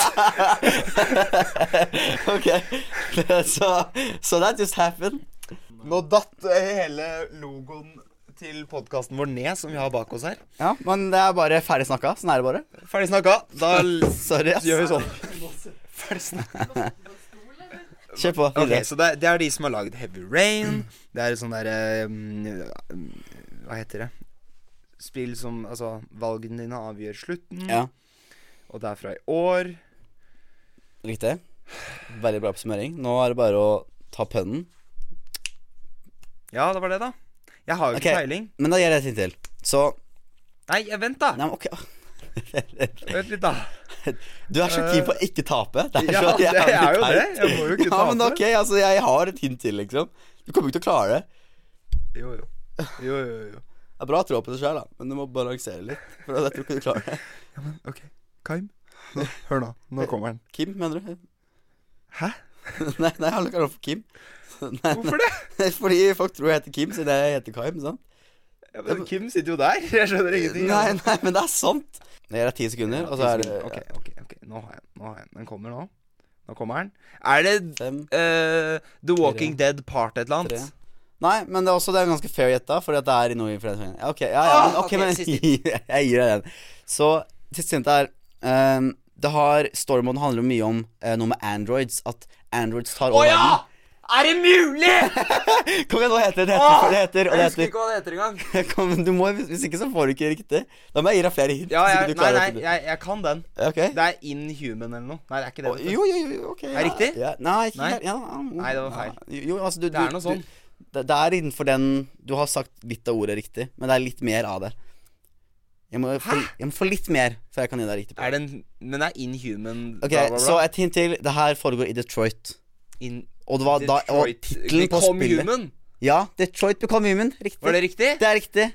Speaker 1: Ok, så so that just happened.
Speaker 3: Nå datt eh, hele logoen til podkasten vår ned, som vi har bak oss her.
Speaker 1: Ja, men det er bare ferdig snakka. Sånn er det bare.
Speaker 3: Ferdig snakka. Da l-
Speaker 1: Sorry, ass.
Speaker 3: gjør vi sånn. Ferdig snakka.
Speaker 1: Kjør på.
Speaker 3: Ok,
Speaker 1: videre.
Speaker 3: så det er, det er de som har lagd Heavy Rain.
Speaker 1: Mm.
Speaker 3: Det er et sånn derre um, Hva heter det? Spill som Altså, valgene dine avgjør slutten.
Speaker 1: Ja,
Speaker 3: Og det er fra i år.
Speaker 1: riktig. Veldig bra oppsummering. Nå er det bare å ta pønnen.
Speaker 3: Ja, det var det, da. Jeg har jo ikke
Speaker 1: Ok.
Speaker 3: peiling.
Speaker 1: Men da gjør jeg et hint til. Så
Speaker 3: Nei, vent, da.
Speaker 1: Nei, men ok. (laughs)
Speaker 3: Vent litt, da.
Speaker 1: Du er så keen på å ikke tape. Det er
Speaker 3: Ja,
Speaker 1: så
Speaker 3: det
Speaker 1: jævlig
Speaker 3: er jo det.
Speaker 1: teit.
Speaker 3: Jeg må jo ikke
Speaker 1: Ja, men
Speaker 3: tape.
Speaker 1: ok, altså, jeg har et hint til, liksom. Du kommer ikke til å klare det.
Speaker 3: Jo, jo. Jo, jo, jo.
Speaker 1: Det er bra å trå på det sjøl, da, men du må balansere litt. For jeg tror ikke du klarer det.
Speaker 3: Ok, Kaim. Nå, hør nå. Nå kommer den.
Speaker 1: Kim, mener du?
Speaker 3: Hæ?
Speaker 1: (laughs) Nei, nei, han kaller meg for Kim. Nei,
Speaker 3: (laughs) Hvorfor det?
Speaker 1: nei, fordi folk tror jeg heter Kim, siden jeg heter Kaim. sant?
Speaker 3: Ja, men Kim sitter jo der. (laughs) Jeg skjønner ingenting.
Speaker 1: Nei, nei, men det er sant. Det gir deg ti sekunder, og så er det
Speaker 3: Ok, ok, ok. Nå har jeg den. Nå har jeg den. Den kommer nå. Nå kommer den. Er det
Speaker 1: fem,
Speaker 3: eh, The Walking Dead Part et eller
Speaker 1: tre
Speaker 3: annet?
Speaker 1: Nei, men det er også det er ganske fair gjetta, fordi at det er i noe influensa. Ja, ok, ja, ja, men,
Speaker 3: Ah,
Speaker 1: ok,
Speaker 3: ok,
Speaker 1: men (laughs)
Speaker 3: siste
Speaker 1: jeg gir deg den. Så siste hint er um, Det har Stormod handler mye om eh, noe med androids. At androids tar
Speaker 3: Å
Speaker 1: over
Speaker 3: ja! Er det (laughs) mulig?!
Speaker 1: verden. (laughs) Kom igjen, nå heter det det
Speaker 3: Åh!
Speaker 1: heter, det heter, og
Speaker 3: Jeg
Speaker 1: det
Speaker 3: husker
Speaker 1: heter.
Speaker 3: ikke hva det heter engang.
Speaker 1: Kom, du må, hvis, hvis ikke, så får du ikke riktig. Da må jeg gi deg flere hint.
Speaker 3: Ja,
Speaker 1: hvis ikke
Speaker 3: jeg,
Speaker 1: du
Speaker 3: nei,
Speaker 1: klarer
Speaker 3: nei,
Speaker 1: å finne
Speaker 3: jeg, jeg kan den.
Speaker 1: Ok.
Speaker 3: Det er Inhuman eller noe. Nei, det er ikke det.
Speaker 1: Å,
Speaker 3: vet du.
Speaker 1: Jo, jo, jo, ok. Ja.
Speaker 3: riktig?
Speaker 1: Ja. Nei, ikke
Speaker 3: Nei.
Speaker 1: helt- Ja, ja,
Speaker 3: Nei, det var feil.
Speaker 1: ja. Jo, altså, du,
Speaker 3: Det er
Speaker 1: du-
Speaker 3: noe sånn.
Speaker 1: du- Det, det er innenfor den Du har sagt litt av ordet riktig, men det er litt mer av det. Jeg må, få,
Speaker 3: Hæ?
Speaker 1: jeg må få litt mer før jeg kan gi deg riktig.
Speaker 3: Er det en, men det er Inhuman
Speaker 1: Ok,
Speaker 3: bla, bla, bla.
Speaker 1: Så et hint til. Det her foregår i Detroit.
Speaker 3: In,
Speaker 1: Og det var da Og
Speaker 3: Detroit-
Speaker 1: tittelen på
Speaker 3: Become
Speaker 1: spillet
Speaker 3: Human.
Speaker 1: Ja, Detroit Become Human. Riktig.
Speaker 3: Var det riktig?
Speaker 1: Det er riktig.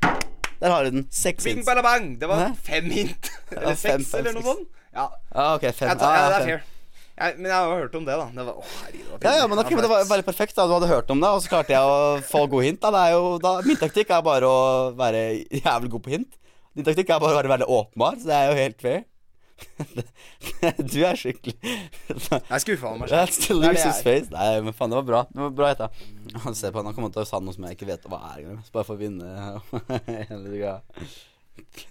Speaker 1: Der har du den. Seks
Speaker 3: Bing
Speaker 1: hints.
Speaker 3: bada bang! Det var
Speaker 1: Hæ?
Speaker 3: fem hint. (laughs) Eller
Speaker 1: var fem,
Speaker 3: seks,
Speaker 1: fem,
Speaker 3: eller noe
Speaker 1: seks.
Speaker 3: sånt. Ja,
Speaker 1: Ah, ok, fem.
Speaker 3: jeg tar, ja,
Speaker 1: Ah,
Speaker 3: det er
Speaker 1: fem.
Speaker 3: fair. Jeg, men jeg har hørt om det, da. Det var, å, herregud, det var
Speaker 1: Ja, ja,
Speaker 3: pinlig.
Speaker 1: men ok,
Speaker 3: Ja,
Speaker 1: men det var bare perfekt. da Du hadde hørt om det, og så klarte jeg å få gode hint. da, det er jo, da Min taktikk er bare å være jævlig god på hint. Din taktikk er bare å være veldig åpenbar, så det er jo helt fair. (laughs) du er skikkelig (laughs)
Speaker 3: Jeg er skuffa over meg selv.
Speaker 1: That's the
Speaker 3: Det er det
Speaker 1: loser's
Speaker 3: jeg
Speaker 1: face. Nei, men faen, det var bra. Det var bra hetta. Se på han, han kommer til å sa noe som jeg ikke vet hva er engang. så Bare for å vinne (laughs) hele greia.
Speaker 3: er.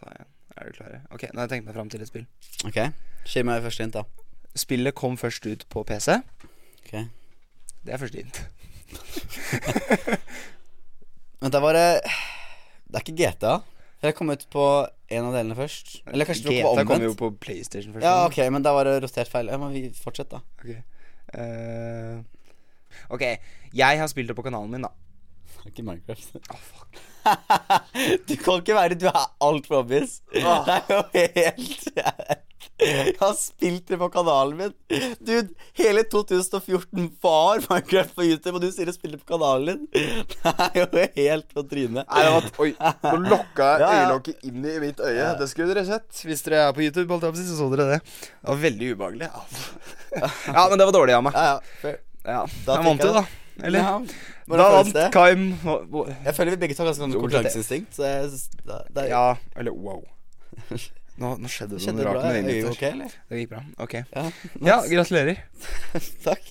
Speaker 3: Ta igjen. Er du klare? Ok, nå har jeg tenkt meg fram til et spill.
Speaker 1: Ok, Gi meg første hint, da.
Speaker 3: Spillet kom først ut på PC.
Speaker 1: Ok
Speaker 3: Det er første hint.
Speaker 1: Men det var det Det er ikke GTA. Jeg kom ut på en av delene først. Eller kanskje det var
Speaker 3: GTA kom
Speaker 1: omvendt.
Speaker 3: jo på PlayStation først.
Speaker 1: Ja, ok, men da var det rotert feil. Ja, men vi fortsetter, da.
Speaker 3: Ok. Eh, ok, jeg har spilt det på kanalen min, da.
Speaker 1: Det er ikke Minecraft. (laughs)
Speaker 3: Å, fuck.
Speaker 1: Ah, du kan ikke være Du er altfor obvious.
Speaker 3: Åh.
Speaker 1: Det er jo helt Jeg har spilt det på kanalen min. Dude, hele 2014 var Minecraft på YouTube, og du sier du spiller på kanalen din. (laughs) Det er jo helt på trynet.
Speaker 3: Nei, det var Oi, nå lokka
Speaker 1: (laughs) Ja,
Speaker 3: jeg
Speaker 1: ja.
Speaker 3: øyelokket inn i mitt øye. Det skulle dere sett. Hvis dere er på YouTube, holdt jeg på å si, så så dere det. Det var veldig ubehagelig. ja, (laughs) men det var dårlig av meg.
Speaker 1: Ja, ja. fair.
Speaker 3: Ja,
Speaker 1: Da
Speaker 3: Han vant
Speaker 1: tenker
Speaker 3: jo, da.
Speaker 1: jeg
Speaker 3: Eller?
Speaker 1: Ja,
Speaker 3: da
Speaker 1: hvordan føles
Speaker 3: vant
Speaker 1: det?
Speaker 3: Kaim. Hva- hva-
Speaker 1: Jeg føler vi begge tar ganske sånn
Speaker 3: Stort
Speaker 1: konkurranseinstinkt. Så jeg, synes- det, det, (laughs)
Speaker 3: Ja, eller wow. Nå, nå skjedde det
Speaker 1: Skjedde
Speaker 3: noe
Speaker 1: det
Speaker 3: rart
Speaker 1: bra?
Speaker 3: med
Speaker 1: Er
Speaker 3: øyet
Speaker 1: øyet
Speaker 3: mitt.
Speaker 1: ok, eller?
Speaker 3: Det gikk bra. Ok.
Speaker 1: Ja,
Speaker 3: Ja,
Speaker 1: nice.
Speaker 3: gratulerer.
Speaker 1: (laughs) Takk.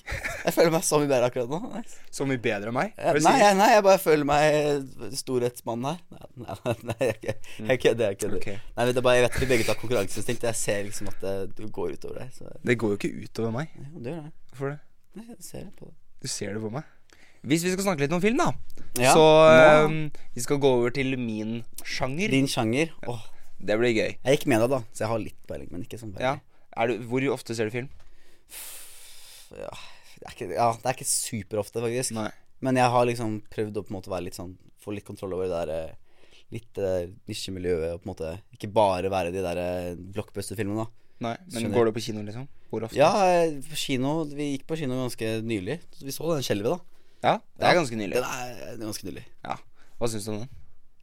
Speaker 1: Jeg føler meg så mye bedre akkurat nå. Nice.
Speaker 3: Så mye bedre enn meg.
Speaker 1: Ja,
Speaker 3: Hva
Speaker 1: nei,
Speaker 3: sier
Speaker 1: jeg, nei, jeg bare føler meg storhetsmann her. Nei, nei, nei jeg kødder. Jeg kødder. Jeg, kødder.
Speaker 3: Mm. Ok.
Speaker 1: Nei, men det er bare, jeg vet at vi begge tar konkurranseinstinkt. Jeg ser liksom at det, du går utover deg. Så ja,
Speaker 3: Det går jo ikke utover meg.
Speaker 1: du gjør det.
Speaker 3: Hvorfor det?
Speaker 1: Nei, jeg ser det på det.
Speaker 3: Du ser det på meg. Hvis vi skal snakke litt om film, da,
Speaker 1: Ja,
Speaker 3: så
Speaker 1: nå-
Speaker 3: eh, Vi skal gå over til min sjanger.
Speaker 1: Din sjanger. Åh,
Speaker 3: Det blir gøy.
Speaker 1: jeg gikk med deg, da, så jeg har litt peiling, men ikke sånn
Speaker 3: Ja.
Speaker 1: peiling.
Speaker 3: Er du, hvor ofte ser du film?
Speaker 1: Ja. Det er ikke, ja, det er ikke superofte, faktisk.
Speaker 3: Nei.
Speaker 1: Men jeg har liksom prøvd å på en måte være litt sånn få litt kontroll over det der eh, litt eh, nisjemiljøet og på en måte ikke bare være de der eh, blockbuster-filmene, da.
Speaker 3: Nei, Men
Speaker 1: Skjønner.
Speaker 3: går du på kino, liksom? Hvor ofte?
Speaker 1: Ja, eh, på kino Vi gikk på kino ganske nylig. Så Vi så den skjelvet, da.
Speaker 3: Ja, Det er
Speaker 1: Ja.
Speaker 3: ganske nylig.
Speaker 1: Den er, den er ganske nylig.
Speaker 3: Ja. Hva syns du om den?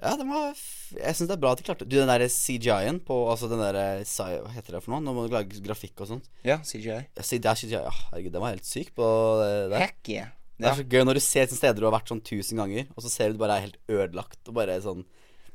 Speaker 1: Ja, den var f- Jeg syns det er bra at de klarte Du, den derre CGI-en på Altså den derre sci- Hva heter det for noe? Nå må du lage grafikk og sånt.
Speaker 3: Ja, CGI.
Speaker 1: CGI, ja, herregud, den var helt syk på det der.
Speaker 3: Heck yeah.
Speaker 1: Det
Speaker 3: Ja.
Speaker 1: er så gøy når du ser sånne steder du har vært sånn tusen ganger, og så ser du det bare er helt ødelagt og bare sånn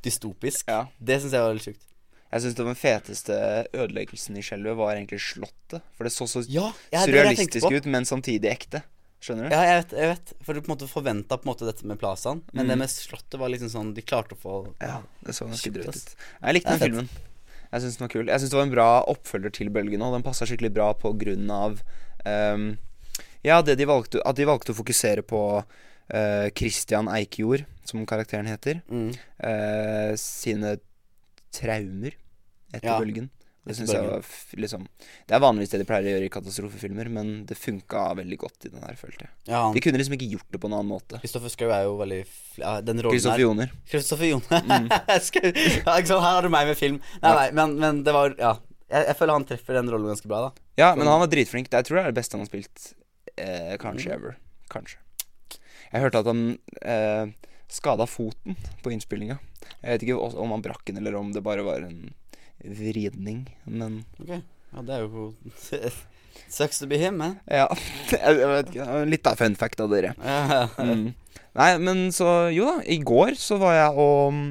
Speaker 1: dystopisk.
Speaker 3: Ja.
Speaker 1: Det syns jeg var litt sjukt.
Speaker 3: Jeg syns den feteste ødeleggelsen i skjelvet var egentlig Slottet. For det så så
Speaker 1: Ja, ja, det var det jeg tenkte
Speaker 3: surrealistisk
Speaker 1: på.
Speaker 3: ut, men samtidig ekte. Skjønner du?
Speaker 1: Ja, jeg vet, jeg vet. For du på en måte forventa på en måte dette med plazaen, men
Speaker 3: Mm.
Speaker 1: det med Slottet var liksom sånn De klarte å få
Speaker 3: Det så ganske
Speaker 1: Shit,
Speaker 3: drøyt
Speaker 1: ass.
Speaker 3: ut. Jeg likte
Speaker 1: Det er
Speaker 3: den filmen. Jeg syns den var kul. Jeg syns det var en bra oppfølger til Bølgen òg. Den passa skikkelig bra på grunn av ehm, Ja, det de valgte, at de valgte å fokusere på eh, Christian Eikjord, som karakteren heter,
Speaker 1: Mm.
Speaker 3: eh, sine traumer etter
Speaker 1: Ja,
Speaker 3: Bølgen. Det
Speaker 1: etter
Speaker 3: synes jeg
Speaker 1: Bølgen.
Speaker 3: var f liksom Det er vanligvis det de pleier å gjøre i katastrofefilmer, men det funka veldig godt i den her, følte jeg.
Speaker 1: Ja, han
Speaker 3: De kunne liksom ikke gjort det på en annen måte.
Speaker 1: Kristoffer Schou er jo veldig fl- ja, Den rollen
Speaker 3: Kristoffer
Speaker 1: her
Speaker 3: Joner.
Speaker 1: Kristoffer Jon.
Speaker 3: Mm.
Speaker 1: (laughs) Schou. ja, ikke sant, her har du meg med film. Nei, nei, men, men det var Ja. Jeg, jeg føler han treffer den rollen ganske bra, da.
Speaker 3: Ja, men han var dritflink. Det- Jeg tror det er det beste han har spilt eh, kanskje ever. Kanskje. Jeg hørte at han eh, skada foten på innspillinga. Jeg vet ikke o- om han brakk den, eller om det bare var en vridning, men
Speaker 1: Ok, ja det er jo (laughs) Sucks to be him, man.
Speaker 3: Ja, (laughs) jeg jeg vet ikke. Litt av fun fact av dere.
Speaker 1: Ja.
Speaker 3: Mm. Nei, men så Jo da, i går så var jeg og mm,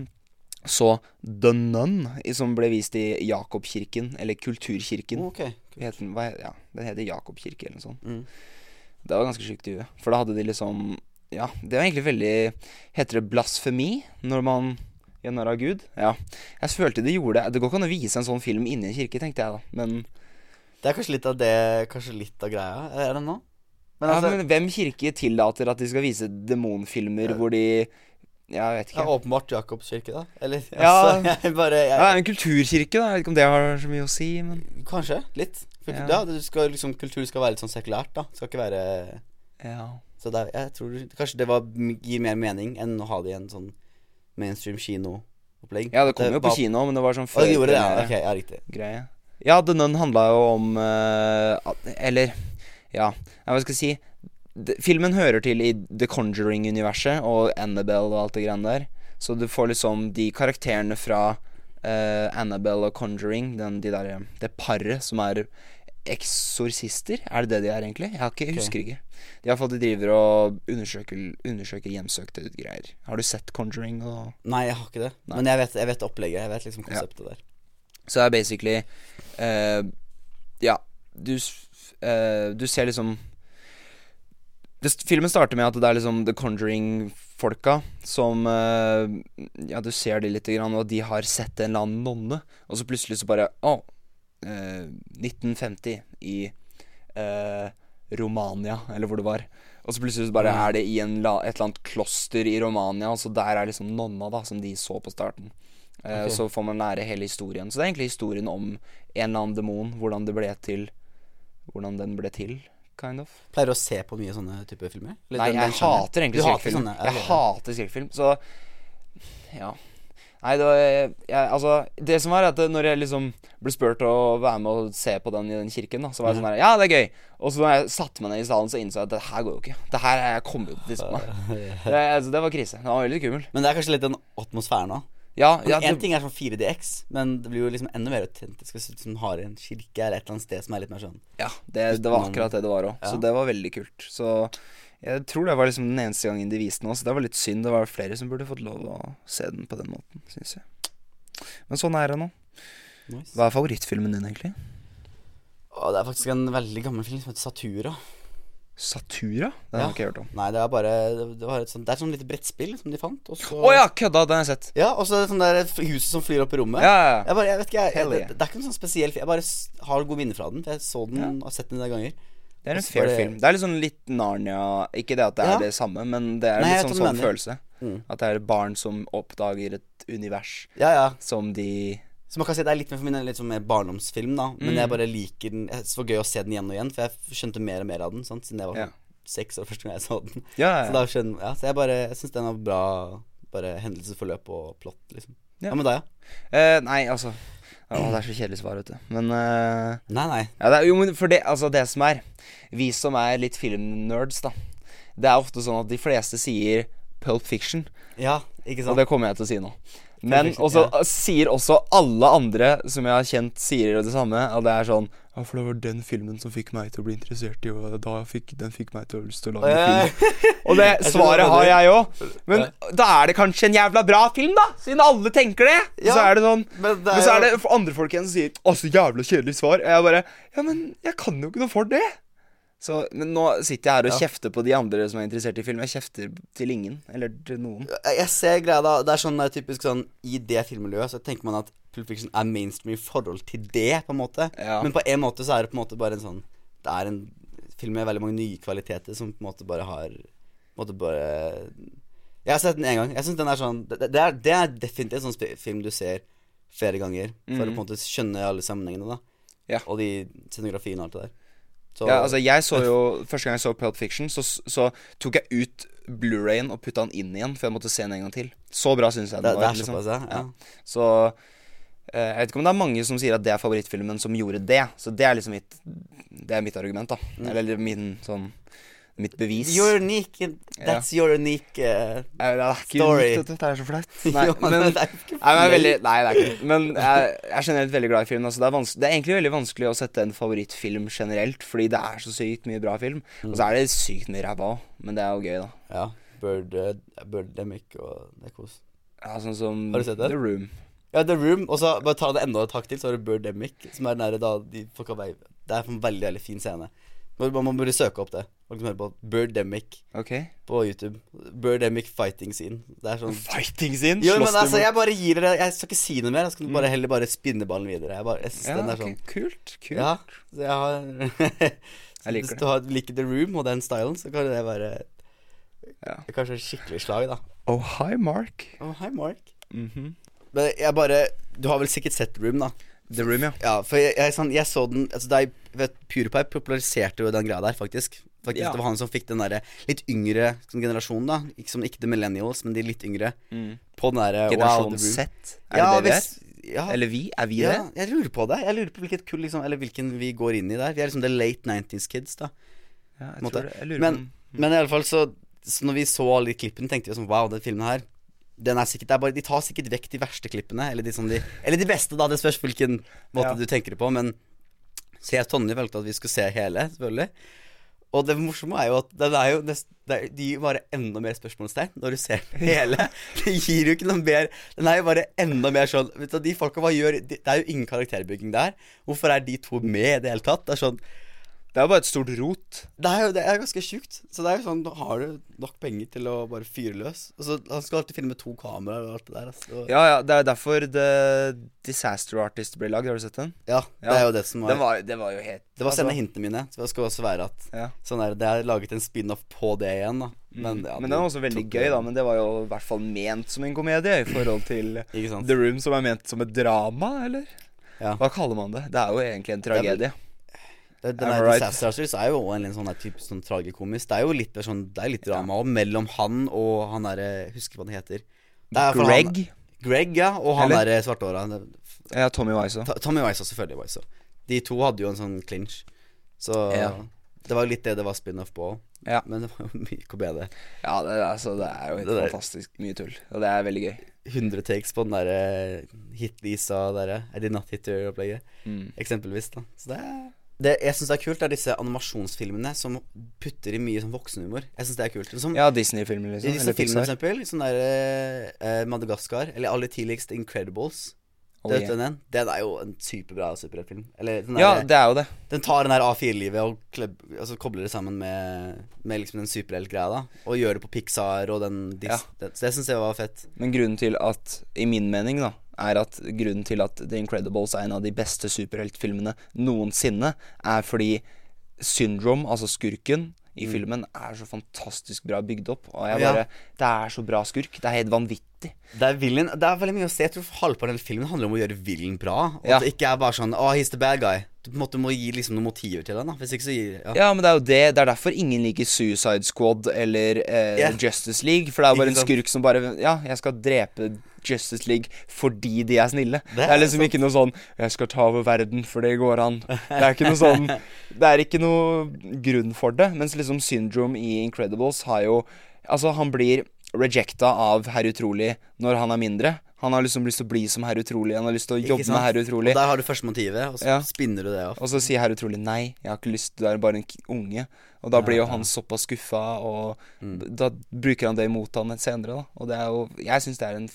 Speaker 3: så The Nun, i- som ble vist i Jakobkirken, eller Kulturkirken.
Speaker 1: (laughs) Ok.
Speaker 3: Det heter, den- hva, he- ja, den heter Jakobkirke eller noe sånt.
Speaker 1: Mm.
Speaker 3: Det var ganske sjukt i huet. For da hadde de liksom Ja, det var egentlig veldig Heter det blasfemi når man gjennar av Gud? Ja. Jeg følte de gjorde det. Det går ikke an å vise en sånn film inni en kirke, tenkte jeg da. Men,
Speaker 1: Det er kanskje litt av det Kanskje litt av greia. Er det nå? Men
Speaker 3: ja,
Speaker 1: altså,
Speaker 3: men hvem kirke tillater at de skal vise demonfilmer hvor de Jeg vet
Speaker 1: ja,
Speaker 3: ikke.
Speaker 1: åpenbart Jakobs kirke, da. Eller
Speaker 3: Ja.
Speaker 1: altså, (laughs) jeg bare jeg,
Speaker 3: Ja, det er en kulturkirke, da. Jeg vet ikke om det har så mye å si, men
Speaker 1: Kanskje. Litt. For,
Speaker 3: Ja.
Speaker 1: ja. du skal, liksom, kultur skal være litt sånn sekulært, da. Skal ikke være
Speaker 3: Ja.
Speaker 1: Så det, er- jeg tror kanskje det var, gir mer mening enn å ha det i en sånn mainstream kinoopplegg.
Speaker 3: Ja, det kom jo
Speaker 1: var-
Speaker 3: på kino, men det var sånn
Speaker 1: Å, det gjorde det, ja.
Speaker 3: førpremiere.
Speaker 1: Ok, ja, riktig.
Speaker 3: greie. Ja, The Nun handla jo om eh, at- Eller ja, nei, hva skal jeg si det, Filmen hører til i The Conjuring-universet og Annabelle og alt det greiene der. Så du får liksom de karakterene fra eh, Annabelle og Conjuring, den, de der, det paret som er eksorsister. Er det det de er, egentlig? Jeg, har ikke, jeg husker ikke. De, i hvert fall, de driver og undersøker, undersøker hjemsøkte greier. Har du sett Conjuring og
Speaker 1: Nei, jeg har ikke det. Men jeg vet, jeg vet opplegget. Jeg vet liksom konseptet der.
Speaker 3: Så det er basically eh, Ja, du, s- eh, du ser liksom det, st- Filmen starter med at det er liksom The Conjuring-folka som eh, Ja, du ser de lite grann, og de har sett en eller annen nonne, og så plutselig så bare Å, eh, 1950 i eh, Romania, eller hvor det var. Og så plutselig så bare er det i en, la- et eller annet kloster i Romania, og så der er liksom nonna, da, som de så på starten. Eh,
Speaker 1: Ok.
Speaker 3: Så får man lære hele historien. Så det er egentlig historien om en eller annen demon, hvordan det ble til Hvordan den ble til, kind of.
Speaker 1: Pleier du å se på mye sånne type filmer? Eller
Speaker 3: Nei,
Speaker 1: den- den
Speaker 3: jeg
Speaker 1: sjangeren?
Speaker 3: hater egentlig
Speaker 1: Du hater
Speaker 3: skrekkfilm.
Speaker 1: sånne, ok,
Speaker 3: Jeg
Speaker 1: ja.
Speaker 3: hater skrekkfilm, så Ja. Nei, det var jeg, Altså, det som var, at når jeg liksom ble spurt å være med og se på den i den kirken, da, så var jeg sånn
Speaker 1: Mhm.
Speaker 3: her Ja, det er gøy. Og så når jeg satte meg ned i salen, så innså jeg at det her går jo ikke. Det her er jeg kommer jo til å tisse på meg.
Speaker 1: (laughs)
Speaker 3: Det, altså, det var krise. Det var veldig skummel.
Speaker 1: Men det er kanskje litt den atmosfæren òg.
Speaker 3: Ja, ja,
Speaker 1: en
Speaker 3: det-
Speaker 1: ting er sånn 4DX, men det blir jo liksom enda mer autentisk hvis du liksom har en kirke eller et eller annet sted som er litt mer sånn
Speaker 3: Ja, det, det var akkurat det det var òg. Så
Speaker 1: Ja.
Speaker 3: det var veldig kult. Så jeg tror det var liksom den eneste gangen de viste den òg, så det var litt synd. Det var flere som burde fått lov å se den på den måten, syns jeg. Men sånn er det nå.
Speaker 1: nice.
Speaker 3: Hva er favorittfilmen din, egentlig?
Speaker 1: Og det er faktisk en veldig gammel film som heter Satura.
Speaker 3: Satura? Den
Speaker 1: Ja.
Speaker 3: har ikke jeg hørt om.
Speaker 1: Nei, det er bare Det, det var et sånt Det er et sånt lite brettspill som de fant, og så
Speaker 3: Å ja, kødda! Den har jeg sett.
Speaker 1: Ja, og så er det sånn der huset som flyr opp i rommet.
Speaker 3: Ja, ja, ja.
Speaker 1: Jeg bare, jeg vet ikke, jeg,
Speaker 3: Hell
Speaker 1: det,
Speaker 3: yeah.
Speaker 1: det er ikke noen sånn spesiell film. Jeg bare s- har gode minner fra den. for Jeg så den og har sett den en del ganger.
Speaker 3: Det er
Speaker 1: Og
Speaker 3: en
Speaker 1: så
Speaker 3: fair
Speaker 1: bare-
Speaker 3: film. Det er litt sånn litt Narnia Ikke det at det er
Speaker 1: Ja.
Speaker 3: det samme, men det er
Speaker 1: Nei, jeg
Speaker 3: litt
Speaker 1: vet
Speaker 3: sånn
Speaker 1: hva
Speaker 3: sånn
Speaker 1: du mener.
Speaker 3: følelse. At det er barn som oppdager et univers
Speaker 1: Ja, ja.
Speaker 3: som de
Speaker 1: Så man kan si det er litt mer for min del litt sånn mer barndomsfilm, da.
Speaker 3: Mm.
Speaker 1: Men jeg bare liker den. Jeg synes det var gøy å se den igjen og igjen, for jeg skjønte mer og mer av den sant? siden jeg var
Speaker 3: Ja.
Speaker 1: seks år første gang jeg så den.
Speaker 3: Ja,
Speaker 1: Så, da skjønner, ja, så jeg bare Jeg syns den har bra Bare hendelsesforløp og plott, liksom.
Speaker 3: Ja.
Speaker 1: Ja, men da, ja.
Speaker 3: Eh, nei, altså Å, det er så kjedelig svar, vet du. Men eh,
Speaker 1: Nei, nei.
Speaker 3: ja, det er, Jo, men for det, altså, det som er Vi som er litt filmnerds, da. Det er ofte sånn at de fleste sier Pulp Fiction,
Speaker 1: Ja, ikke
Speaker 3: og
Speaker 1: sant.
Speaker 3: det kommer jeg til å si nå. Men
Speaker 1: Fiction,
Speaker 3: også,
Speaker 1: ja.
Speaker 3: sier også alle andre som jeg har kjent, sier det samme. Og det er sånn Ja, for det var den filmen som fikk meg til å bli interessert i Og da fikk, den fikk meg til å ha lyst til å lage
Speaker 1: Eh,
Speaker 3: film. Og det
Speaker 1: Jeg skjønner
Speaker 3: svaret
Speaker 1: hva
Speaker 3: har
Speaker 1: du-
Speaker 3: jeg òg. Men da er det kanskje en jævla bra film, da! Siden alle tenker det. Og
Speaker 1: Ja,
Speaker 3: så er det sånn
Speaker 1: men
Speaker 3: Men,
Speaker 1: det er
Speaker 3: så er
Speaker 1: jo-
Speaker 3: det for andre folk igjen som sier Å, så jævla kjedelig svar. Og jeg bare Ja, men jeg kan jo ikke noe for det. Så, men nå sitter jeg her og kjefter på de andre som er interessert i film. Jeg kjefter til ingen. Eller til noen.
Speaker 1: Jeg- Jeg ser greia da. Det er sånn eh, typisk sånn I det filmmiljøet så tenker man at Pulp Fiction er mainstream i forhold til det, på en måte.
Speaker 3: Ja.
Speaker 1: Men på en måte så er det på en måte bare en sånn Det er en film med veldig mange nye kvaliteter som på en måte bare har På en måte bare Jeg har sett den én gang. Jeg synes den er sånn det, det, er, det er definitivt en sånn spe- film du ser flere ganger for å på en måte skjønne alle sammenhengene, da.
Speaker 3: Mhm. Ja.
Speaker 1: Og de scenografiene og alt det der. Så
Speaker 3: Ja, altså jeg så jo Første gang jeg så Pulp Fiction, så, så tok jeg ut Blu-rayen og putta den inn igjen, for jeg måtte se den en gang til. Så bra syns jeg den
Speaker 1: det, det
Speaker 3: var. liksom.
Speaker 1: er såpass, ja. ja.
Speaker 3: Så eh, jeg vet ikke om det er mange som sier at det er favorittfilmen som gjorde det. Så det er liksom mitt Det er mitt argument, da.
Speaker 1: Mm.
Speaker 3: Eller min sånn Mitt bevis.
Speaker 1: You're unique. and That's your unique eh,
Speaker 3: Eh, det er ikke
Speaker 1: Story.
Speaker 3: unikt, vet du. Det er så flaut. Nei,
Speaker 1: (laughs) Jo,
Speaker 3: men,
Speaker 1: men
Speaker 3: nei,
Speaker 1: det er ikke
Speaker 3: men jeg er veldig,
Speaker 1: flaut.
Speaker 3: nei, det er ikke det. Men jeg, jeg er generelt veldig glad i film. Altså, det, er vans- det er egentlig veldig vanskelig å sette en favorittfilm generelt, fordi det er så sykt mye bra film.
Speaker 1: Mm.
Speaker 3: Og så er det sykt mye ræva òg, men det er jo gøy, da.
Speaker 1: Ja. Bird, eh, Birdemic og det er kos.
Speaker 3: Ja, sånn som
Speaker 1: Har du sett den?
Speaker 3: The Room.
Speaker 1: Ja, The Room, og så bare ta det enda et hakk til, så har du Birdemic, som er nære da de folka vei- Det er en veldig, veldig fin scene. Man, man burde søke opp det. Folk som hører på Birdemic
Speaker 3: Ok.
Speaker 1: på YouTube. Birdemic fighting scene. Det er sånn
Speaker 3: Fighting sin.
Speaker 1: (laughs) Jo, men altså, jeg bare gir dere Jeg skal ikke si noe mer. Jeg skal bare heller bare spinne ballen videre. Jeg bare, jeg synes
Speaker 3: ja,
Speaker 1: den er
Speaker 3: ok.
Speaker 1: sånn
Speaker 3: Kult. kult.
Speaker 1: Ja, så jeg har (laughs)
Speaker 3: Jeg liker
Speaker 1: Hvis
Speaker 3: det.
Speaker 1: du har, liker The Room og den stylen, så kan det være
Speaker 3: Ja.
Speaker 1: Kanskje et skikkelig slag, da.
Speaker 3: Oh, hi, Mark.
Speaker 1: Oh, hei, Mark.
Speaker 3: Mhm.
Speaker 1: Men jeg bare Du har vel sikkert sett Room, da?
Speaker 3: The Room, ja.
Speaker 1: Ja, for jeg, jeg, sånn, jeg så den altså, da jeg, vet, PewDiePie populariserte jo den greia der, faktisk. Faktisk,
Speaker 3: Ja.
Speaker 1: Det var han som fikk den derre litt yngre sånn, generasjonen, da. Ikke, som, ikke the millennials, men de litt yngre. På den derre
Speaker 3: Mm. Generasjon
Speaker 1: wow, The Room.
Speaker 3: Z. Er
Speaker 1: ja,
Speaker 3: det det vi er?
Speaker 1: hvis- Ja,
Speaker 3: Eller vi? Er vi
Speaker 1: ja,
Speaker 3: det?
Speaker 1: jeg lurer på det. Jeg lurer på hvilket kull liksom, Eller hvilken vi går inn i der. Vi er liksom the late 90s kids, da.
Speaker 3: Ja, jeg
Speaker 1: måte.
Speaker 3: tror det. Jeg lurer
Speaker 1: Men-
Speaker 3: på om
Speaker 1: Men i alle fall så, så når vi så alle de klippene, tenkte vi sånn Wow, den filmen her den er sikkert, det er bare, De tar sikkert vekk de verste klippene, eller de, som de, eller de beste, da. Det spørs hvilken måte
Speaker 3: Ja.
Speaker 1: du tenker det på. Men Så jeg og Tonje valgte at vi skulle se hele, selvfølgelig. Og det morsomme er jo at det er jo nest, det er, de gir jo bare enda mer spørsmålstegn når du
Speaker 3: (laughs)
Speaker 1: ser den hele. Det gir jo ikke noe mer Den er jo bare enda mer sånn Vet du, De folka, hva gjør de, Det er jo ingen karakterbygging der. Hvorfor er de to med i det hele tatt? Det er sånn
Speaker 3: Det er jo bare et stort rot.
Speaker 1: det er jo det er ganske sjukt. Så det er jo sånn, da har du nok penger til å bare fyre løs. Og så, han skal alltid filme to kameraer og alt det der. Altså. Ja.
Speaker 3: Ja, ja, det er jo derfor The Disaster Artist ble lagd. Har du sett den?
Speaker 1: det er jo det som var,
Speaker 3: Den var, det var jo helt
Speaker 1: Det var sende
Speaker 3: altså,
Speaker 1: hintene mine. Så det skal også være at
Speaker 3: Ja.
Speaker 1: sånn der, det er laget en spin-off på det igjen, da. Men, ja, du
Speaker 3: Mm. Men den var også veldig
Speaker 1: tok
Speaker 3: gøy,
Speaker 1: det-
Speaker 3: da. Men det var jo i hvert fall ment som en komedie i forhold til
Speaker 1: (laughs) Ikke sant.
Speaker 3: The Room, som er ment som et drama, eller?
Speaker 1: Ja.
Speaker 3: Hva kaller man det? Det er jo egentlig en
Speaker 1: er vel-
Speaker 3: tragedie.
Speaker 1: Det- Den
Speaker 3: I'm
Speaker 1: der
Speaker 3: right.
Speaker 1: Disaster Artist er jo også en litt sånn der type sånn tragikomisk. Det er jo litt, mer sånn, det er litt drama også, mellom han og han derre Husker hva han heter. Det er for
Speaker 3: Greg?
Speaker 1: Han, Greg, ja. Og han
Speaker 3: Eller?
Speaker 1: derre svarthåra.
Speaker 3: Ja, Tommy Wiseau.
Speaker 1: Ta- Tommy Wiseau, selvfølgelig Wiseau. De to hadde jo en sånn clinch. Så
Speaker 3: Ja.
Speaker 1: det var litt det det var spin-off på.
Speaker 3: Ja.
Speaker 1: Men det var jo (laughs) mye komedie.
Speaker 3: Ja, det, altså, det er jo helt
Speaker 1: Det der-
Speaker 3: fantastisk mye tull. Og det er veldig gøy.
Speaker 1: 100 takes på den eh, derre hit-Lisa derre I did eh. not hit her-opplegget.
Speaker 3: Mm.
Speaker 1: Eksempelvis, da. Så det er det jeg syns er kult, er disse animasjonsfilmene som putter i mye sånn voksenhumor. Jeg synes det er kult. Som
Speaker 3: Ja,
Speaker 1: i
Speaker 3: Disney-filmer, liksom.
Speaker 1: disse
Speaker 3: Eller
Speaker 1: filmene, for
Speaker 3: Pixar.
Speaker 1: eksempel. Sånn derre eh, Madagaskar. Eller aller tidligst Incredibles.
Speaker 3: Oh,
Speaker 1: Vet du
Speaker 3: yeah.
Speaker 1: den? Den er jo en superbra superheltfilm. Eller den
Speaker 3: Ja,
Speaker 1: derre-
Speaker 3: det er jo det.
Speaker 1: Den tar den her A4-livet og kleb, altså kobler det sammen med, med liksom den superheltgreia, da. Og gjør det på Pixar og den, dis,
Speaker 3: Ja.
Speaker 1: den Så det syns jeg var fett.
Speaker 3: Men grunnen til at, i min mening da, er at grunnen til at The Incredibles er en av de beste superheltfilmene noensinne, er fordi Syndrome, altså skurken i filmen, er så fantastisk bra bygd opp. Og jeg
Speaker 1: Mm. Ja.
Speaker 3: bare, Det er så bra skurk. Det er helt vanvittig.
Speaker 1: Det er, villain, det er veldig mye å se. Jeg tror halvparten av den filmen handler om å gjøre villen bra. Og
Speaker 3: Ja.
Speaker 1: at det ikke er bare sånn 'Å, he's the bad guy'. Du på en måte må gi liksom noen motiver til den, da. Hvis ikke så gir ja.
Speaker 3: Ja, men det er jo det. Det er derfor ingen liker Suicide Squad eller eh,
Speaker 1: Ja.
Speaker 3: Justice League. For det er jo
Speaker 1: Ikke
Speaker 3: bare en
Speaker 1: sant?
Speaker 3: skurk som bare Ja, jeg skal drepe Justice League fordi de er snille. Det er,
Speaker 1: er
Speaker 3: liksom ikke noe sånn 'Jeg skal ta over verden, for det går an'. Det er ikke
Speaker 1: (laughs)
Speaker 3: noe sånn Det er ikke noe grunn for det. Mens liksom Syndrome i Incredibles har jo Altså, han blir rejecta av Herr Utrolig når han er mindre. Han har liksom lyst til å bli som Herr Utrolig, han har lyst til å
Speaker 1: Ikke
Speaker 3: jobbe
Speaker 1: sant?
Speaker 3: med Herr Utrolig.
Speaker 1: Og der har du første motivet, og så
Speaker 3: Ja.
Speaker 1: spinner du det av.
Speaker 3: Og så sier herr utrolig nei, jeg har ikke lyst, du er bare en k- unge. Og da blir jo han såpass skuffa, og d-
Speaker 1: Mm.
Speaker 3: da bruker han det imot han senere, da. Og det er jo Jeg syns det er en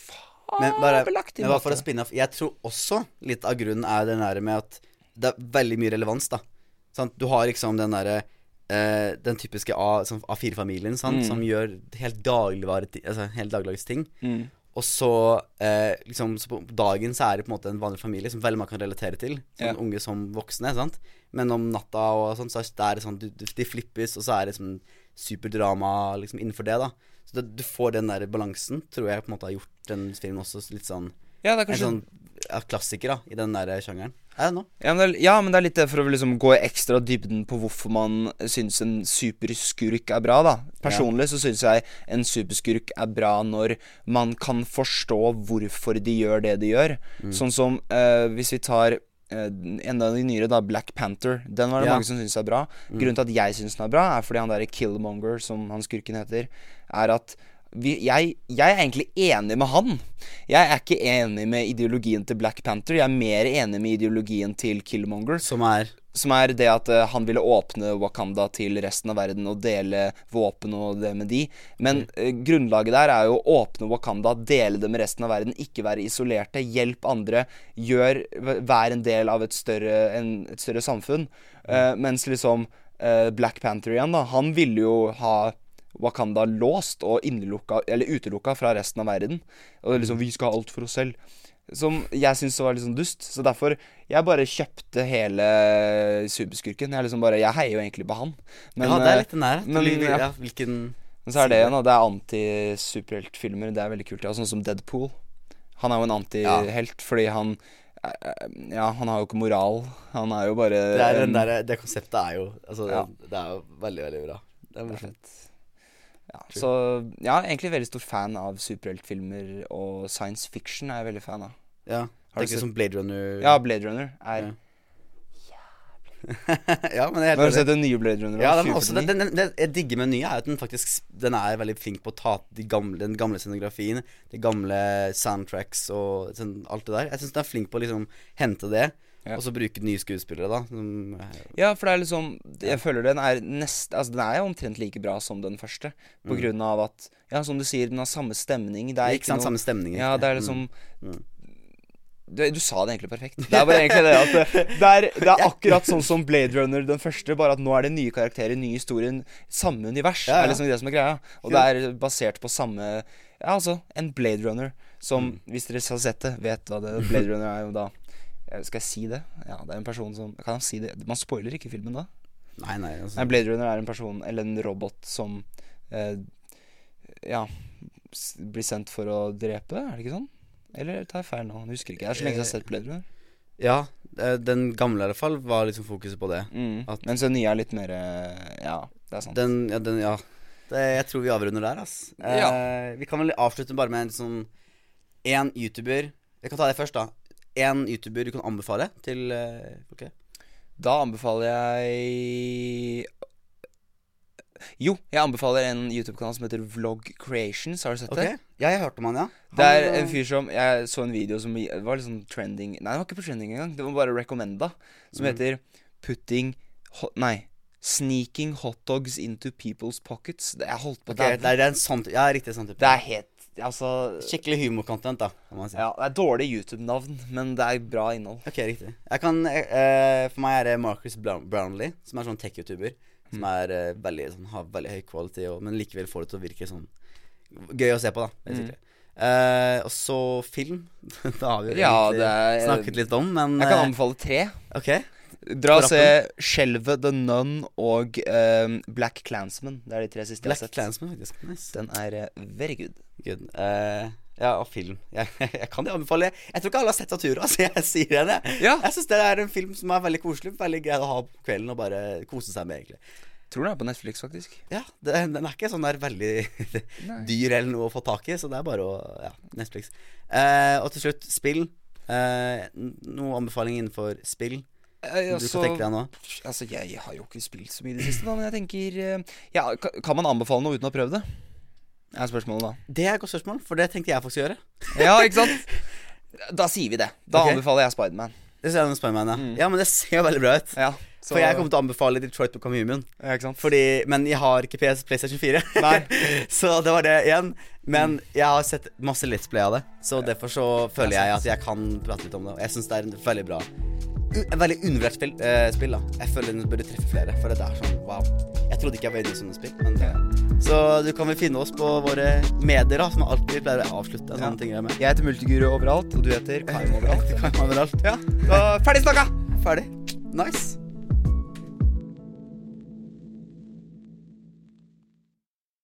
Speaker 1: Men bare,
Speaker 3: fabelaktig
Speaker 1: men bare for å
Speaker 3: måte.
Speaker 1: spinne av Jeg tror også litt av grunnen er den der med at det er veldig mye relevans, da. Sant? Du har liksom den derre eh, Den typiske A, sånn A4-familien sant? som gjør helt, dagligvare, ti- altså, helt dagligdags ting. Og så eh, liksom så på dagen så er det på en måte en vanlig familie som veldig mange kan relatere til. Sånn
Speaker 3: Ja.
Speaker 1: unge som voksne, sant. Men om natta og sånn, så er det sånn du, du, De flippes, og så er det sånn superdrama liksom innenfor det, da. Så det, du får den der balansen, tror jeg på en måte har gjort den filmen også litt sånn
Speaker 3: Ja, det er
Speaker 1: en
Speaker 3: kanskje
Speaker 1: sånn ja, klassiker da, i den der sjangeren. Er det nå?
Speaker 3: ja, men det er, ja, men det er litt det for å liksom gå i ekstra dybden på hvorfor man syns en superskurk er bra, da. Personlig så syns jeg en superskurk er bra når man kan forstå hvorfor de gjør det de gjør.
Speaker 1: Mm.
Speaker 3: Sånn som eh, hvis vi tar eh, en av de nyere, da, Black Panther. Den var det
Speaker 1: Ja.
Speaker 3: mange som syns er bra. Grunnen til at jeg syns den er bra, er fordi han derre Killmonger, som han skurken heter, er at vi, jeg, jeg er egentlig enig med han. Jeg er ikke enig med ideologien til Black Panther. Jeg er mer enig med ideologien til Killmonger
Speaker 1: Som er
Speaker 3: som er det at eh, han ville åpne Wakanda til resten av verden og dele våpen og det med de. Men eh, grunnlaget der er jo å åpne Wakanda, dele det med resten av verden, ikke være isolerte, hjelp andre, gjør, v- vær en del av et større, en, et større samfunn. Eh, mens liksom eh, Black Panther igjen, da, han ville jo ha Wakanda låst og innelukka, eller utelukka fra resten av verden. Og liksom, vi skal ha alt for oss selv. Som jeg syntes var litt sånn dust. Så derfor Jeg bare kjøpte hele superskurken. Jeg liksom bare Jeg heier jo egentlig på han. Men,
Speaker 1: Ja, det er
Speaker 3: eh,
Speaker 1: litt den der.
Speaker 3: men,
Speaker 1: Men,
Speaker 3: ja.
Speaker 1: ja, hvilken
Speaker 3: men så er det igjen, da. Det er anti-superheltfilmer. Det er veldig kult. Ja, sånn som Deadpool. Han er jo en antihelt fordi han eh, eh, Ja, han har jo ikke moral. Han er jo bare
Speaker 1: Det, er
Speaker 3: en-
Speaker 1: den der, det konseptet er jo altså,
Speaker 3: Ja.
Speaker 1: det, det er jo veldig, veldig bra. Det er morsomt.
Speaker 3: ja, Så ja, egentlig veldig stor fan av superheltfilmer, og science fiction er jeg veldig fan av.
Speaker 1: Ja.
Speaker 3: Har du
Speaker 1: Tenker
Speaker 3: sett-
Speaker 1: som Blade Runner
Speaker 3: Ja, Blade Runner er
Speaker 1: Ja. (laughs) ja, men jeg er
Speaker 3: Har du
Speaker 1: helt enig.
Speaker 3: sett den nye Blade Runner?
Speaker 1: Ja,
Speaker 3: da?
Speaker 1: den er også, den,
Speaker 3: 2049?
Speaker 1: den, den, det jeg digger med den nye, er at den faktisk Den er veldig flink på å ta de gamle, den gamle scenografien, de gamle soundtracks og sånn, alt det der. Jeg syns den er flink på å liksom hente det,
Speaker 3: Ja.
Speaker 1: og så bruke nye skuespillere, da. Som, eh,
Speaker 3: Ja, for det er liksom Jeg føler den er nest Altså, den er jo omtrent like bra som den første, på grunn av at Ja, som du sier, den har samme stemning. Det er
Speaker 1: Mm. ikke sant, samme stemninger.
Speaker 3: Ja, det er liksom
Speaker 1: Mm.
Speaker 3: du, du sa det egentlig
Speaker 1: (laughs)
Speaker 3: perfekt. Det er bare egentlig det at det det er, det er akkurat sånn som Blade Runner den første, bare at nå er det nye karakterer, nye historier, samme univers.
Speaker 1: Ja, ja.
Speaker 3: er liksom det som er greia. Og det er basert på samme Ja, altså, en Blade Runner som,
Speaker 1: Mm.
Speaker 3: hvis dere har sett det, vet hva det Blade Runner er jo da. Eh, Skal jeg si det? Ja, det er en person som Kan han si det? Man spoiler ikke filmen da?
Speaker 1: Nei, nei, altså,
Speaker 3: Nei, Blade Runner er en person, eller en robot, som eh, Ja s- blir sendt for å drepe, er det ikke sånn? Eller tar jeg feil nå? Jeg husker ikke. Det er så lenge siden jeg har sett Blade Runner.
Speaker 1: Ja, eh, den gamle i hvert fall var liksom fokuset på det.
Speaker 3: Mm.
Speaker 1: At-
Speaker 3: Mens den nye er litt mer eh, Ja, det er sant.
Speaker 1: Den, ja, den, ja. Det, jeg tror vi avrunder der, ass. Eh, vi kan vel avslutte bare med en sånn én YouTuber Jeg kan ta det først, da. Én YouTuber du kan anbefale til eh, folk.
Speaker 3: Da anbefaler jeg Jo, jeg anbefaler en YouTube-kanal som heter Vlog Creations. Har du sett
Speaker 1: Ok,
Speaker 3: det?
Speaker 1: Ja, jeg hørte om han, ja. Han,
Speaker 3: Det er en
Speaker 1: eh,
Speaker 3: fyr som Jeg så en video som i- var litt sånn trending Nei, det var ikke på trending engang. Det var bare recommenda. Som
Speaker 1: Mm.
Speaker 3: heter Putting hot, Nei. Sneaking hotdogs into people's pockets. Det, jeg holdt på
Speaker 1: ok, det,
Speaker 3: det,
Speaker 1: er, det er en sånn type. Ja, riktig sånn type.
Speaker 3: det er helt Altså
Speaker 1: Skikkelig humorcontent, da. Kan man si.
Speaker 3: ja, Det er dårlig YouTube-navn, men det er bra innhold.
Speaker 1: Ok, riktig. Jeg kan, eh, for meg er det Marcus Brown- Brownlee, som er sånn tech-youtuber. Som
Speaker 3: Mm.
Speaker 1: er eh, veldig, sånn, har veldig høy quality, og, men likevel får det til å virke sånn gøy å se på, da.
Speaker 3: Mm.
Speaker 1: basically. Eh, og så film. (laughs) da har vi jo egentlig
Speaker 3: Ja, det er-
Speaker 1: snakket litt om, men
Speaker 3: Jeg kan
Speaker 1: eh,
Speaker 3: anbefale tre.
Speaker 1: Ok.
Speaker 3: Dra og
Speaker 1: På
Speaker 3: se Skjelvet, The Nun og eh, Black Clansman. Det er de tre siste
Speaker 1: Black
Speaker 3: jeg har sett.
Speaker 1: Clansman, faktisk. Nice.
Speaker 3: Den er eh, very good.
Speaker 1: Good. Eh, ja, og film. (laughs) Jeg, jeg kan det anbefale. Jeg tror ikke alle har sett Satura, (laughs) så jeg sier det. jeg.
Speaker 3: Ja.
Speaker 1: Jeg syns det er en film som er veldig koselig. Veldig grei å ha på kvelden og bare kose seg med, egentlig.
Speaker 3: Tror den er på Netflix, faktisk.
Speaker 1: Ja, det, Den er ikke sånn der veldig (laughs) dyr eller noe å få tak i, så det er bare å Ja, Netflix. Eh, og til slutt, spill. Eh, n- noe anbefaling innenfor spill
Speaker 3: Eh,
Speaker 1: du kan tenke deg nå?
Speaker 3: Altså, jeg har jo ikke spilt så mye i det siste, da, men jeg tenker eh, ja, ka- Kan man anbefale noe uten å ha prøvd det? Er spørsmålet, da.
Speaker 1: Det er et godt spørsmål, for det tenkte jeg faktisk å gjøre.
Speaker 3: Ja, ikke sant? Da sier vi det. Da
Speaker 1: Ok.
Speaker 3: anbefaler jeg Spiderman.
Speaker 1: Det ser jeg med Spiderman, ja. ja, men det ser jo veldig bra ut.
Speaker 3: Mm. Ja, så-
Speaker 1: For jeg kommer til å anbefale Detroit Become Human.
Speaker 3: ja, ikke sant?
Speaker 1: Fordi, men jeg har ikke PS, PlayStation 4.
Speaker 3: Nei.
Speaker 1: (laughs)
Speaker 3: Mm.
Speaker 1: så det var det igjen. Men jeg har sett masse Let's Play av det, så derfor så føler jeg at jeg kan prate litt om det. Og jeg syns det er en veldig bra u- en veldig undervurdert spill, eh, spill, da. Jeg føler den burde treffe flere, for det er sånn wow. Jeg trodde ikke jeg var inne i sånne spill, men det Så du kan vel finne oss på våre medier, da, som alltid pleier å avslutte sånne ting jeg er med.
Speaker 3: Jeg heter Multiguru overalt, og du heter Kaim overalt.
Speaker 1: Kan man vel alt.
Speaker 3: Ja, da, ferdig snakka!
Speaker 1: Ferdig. Nice.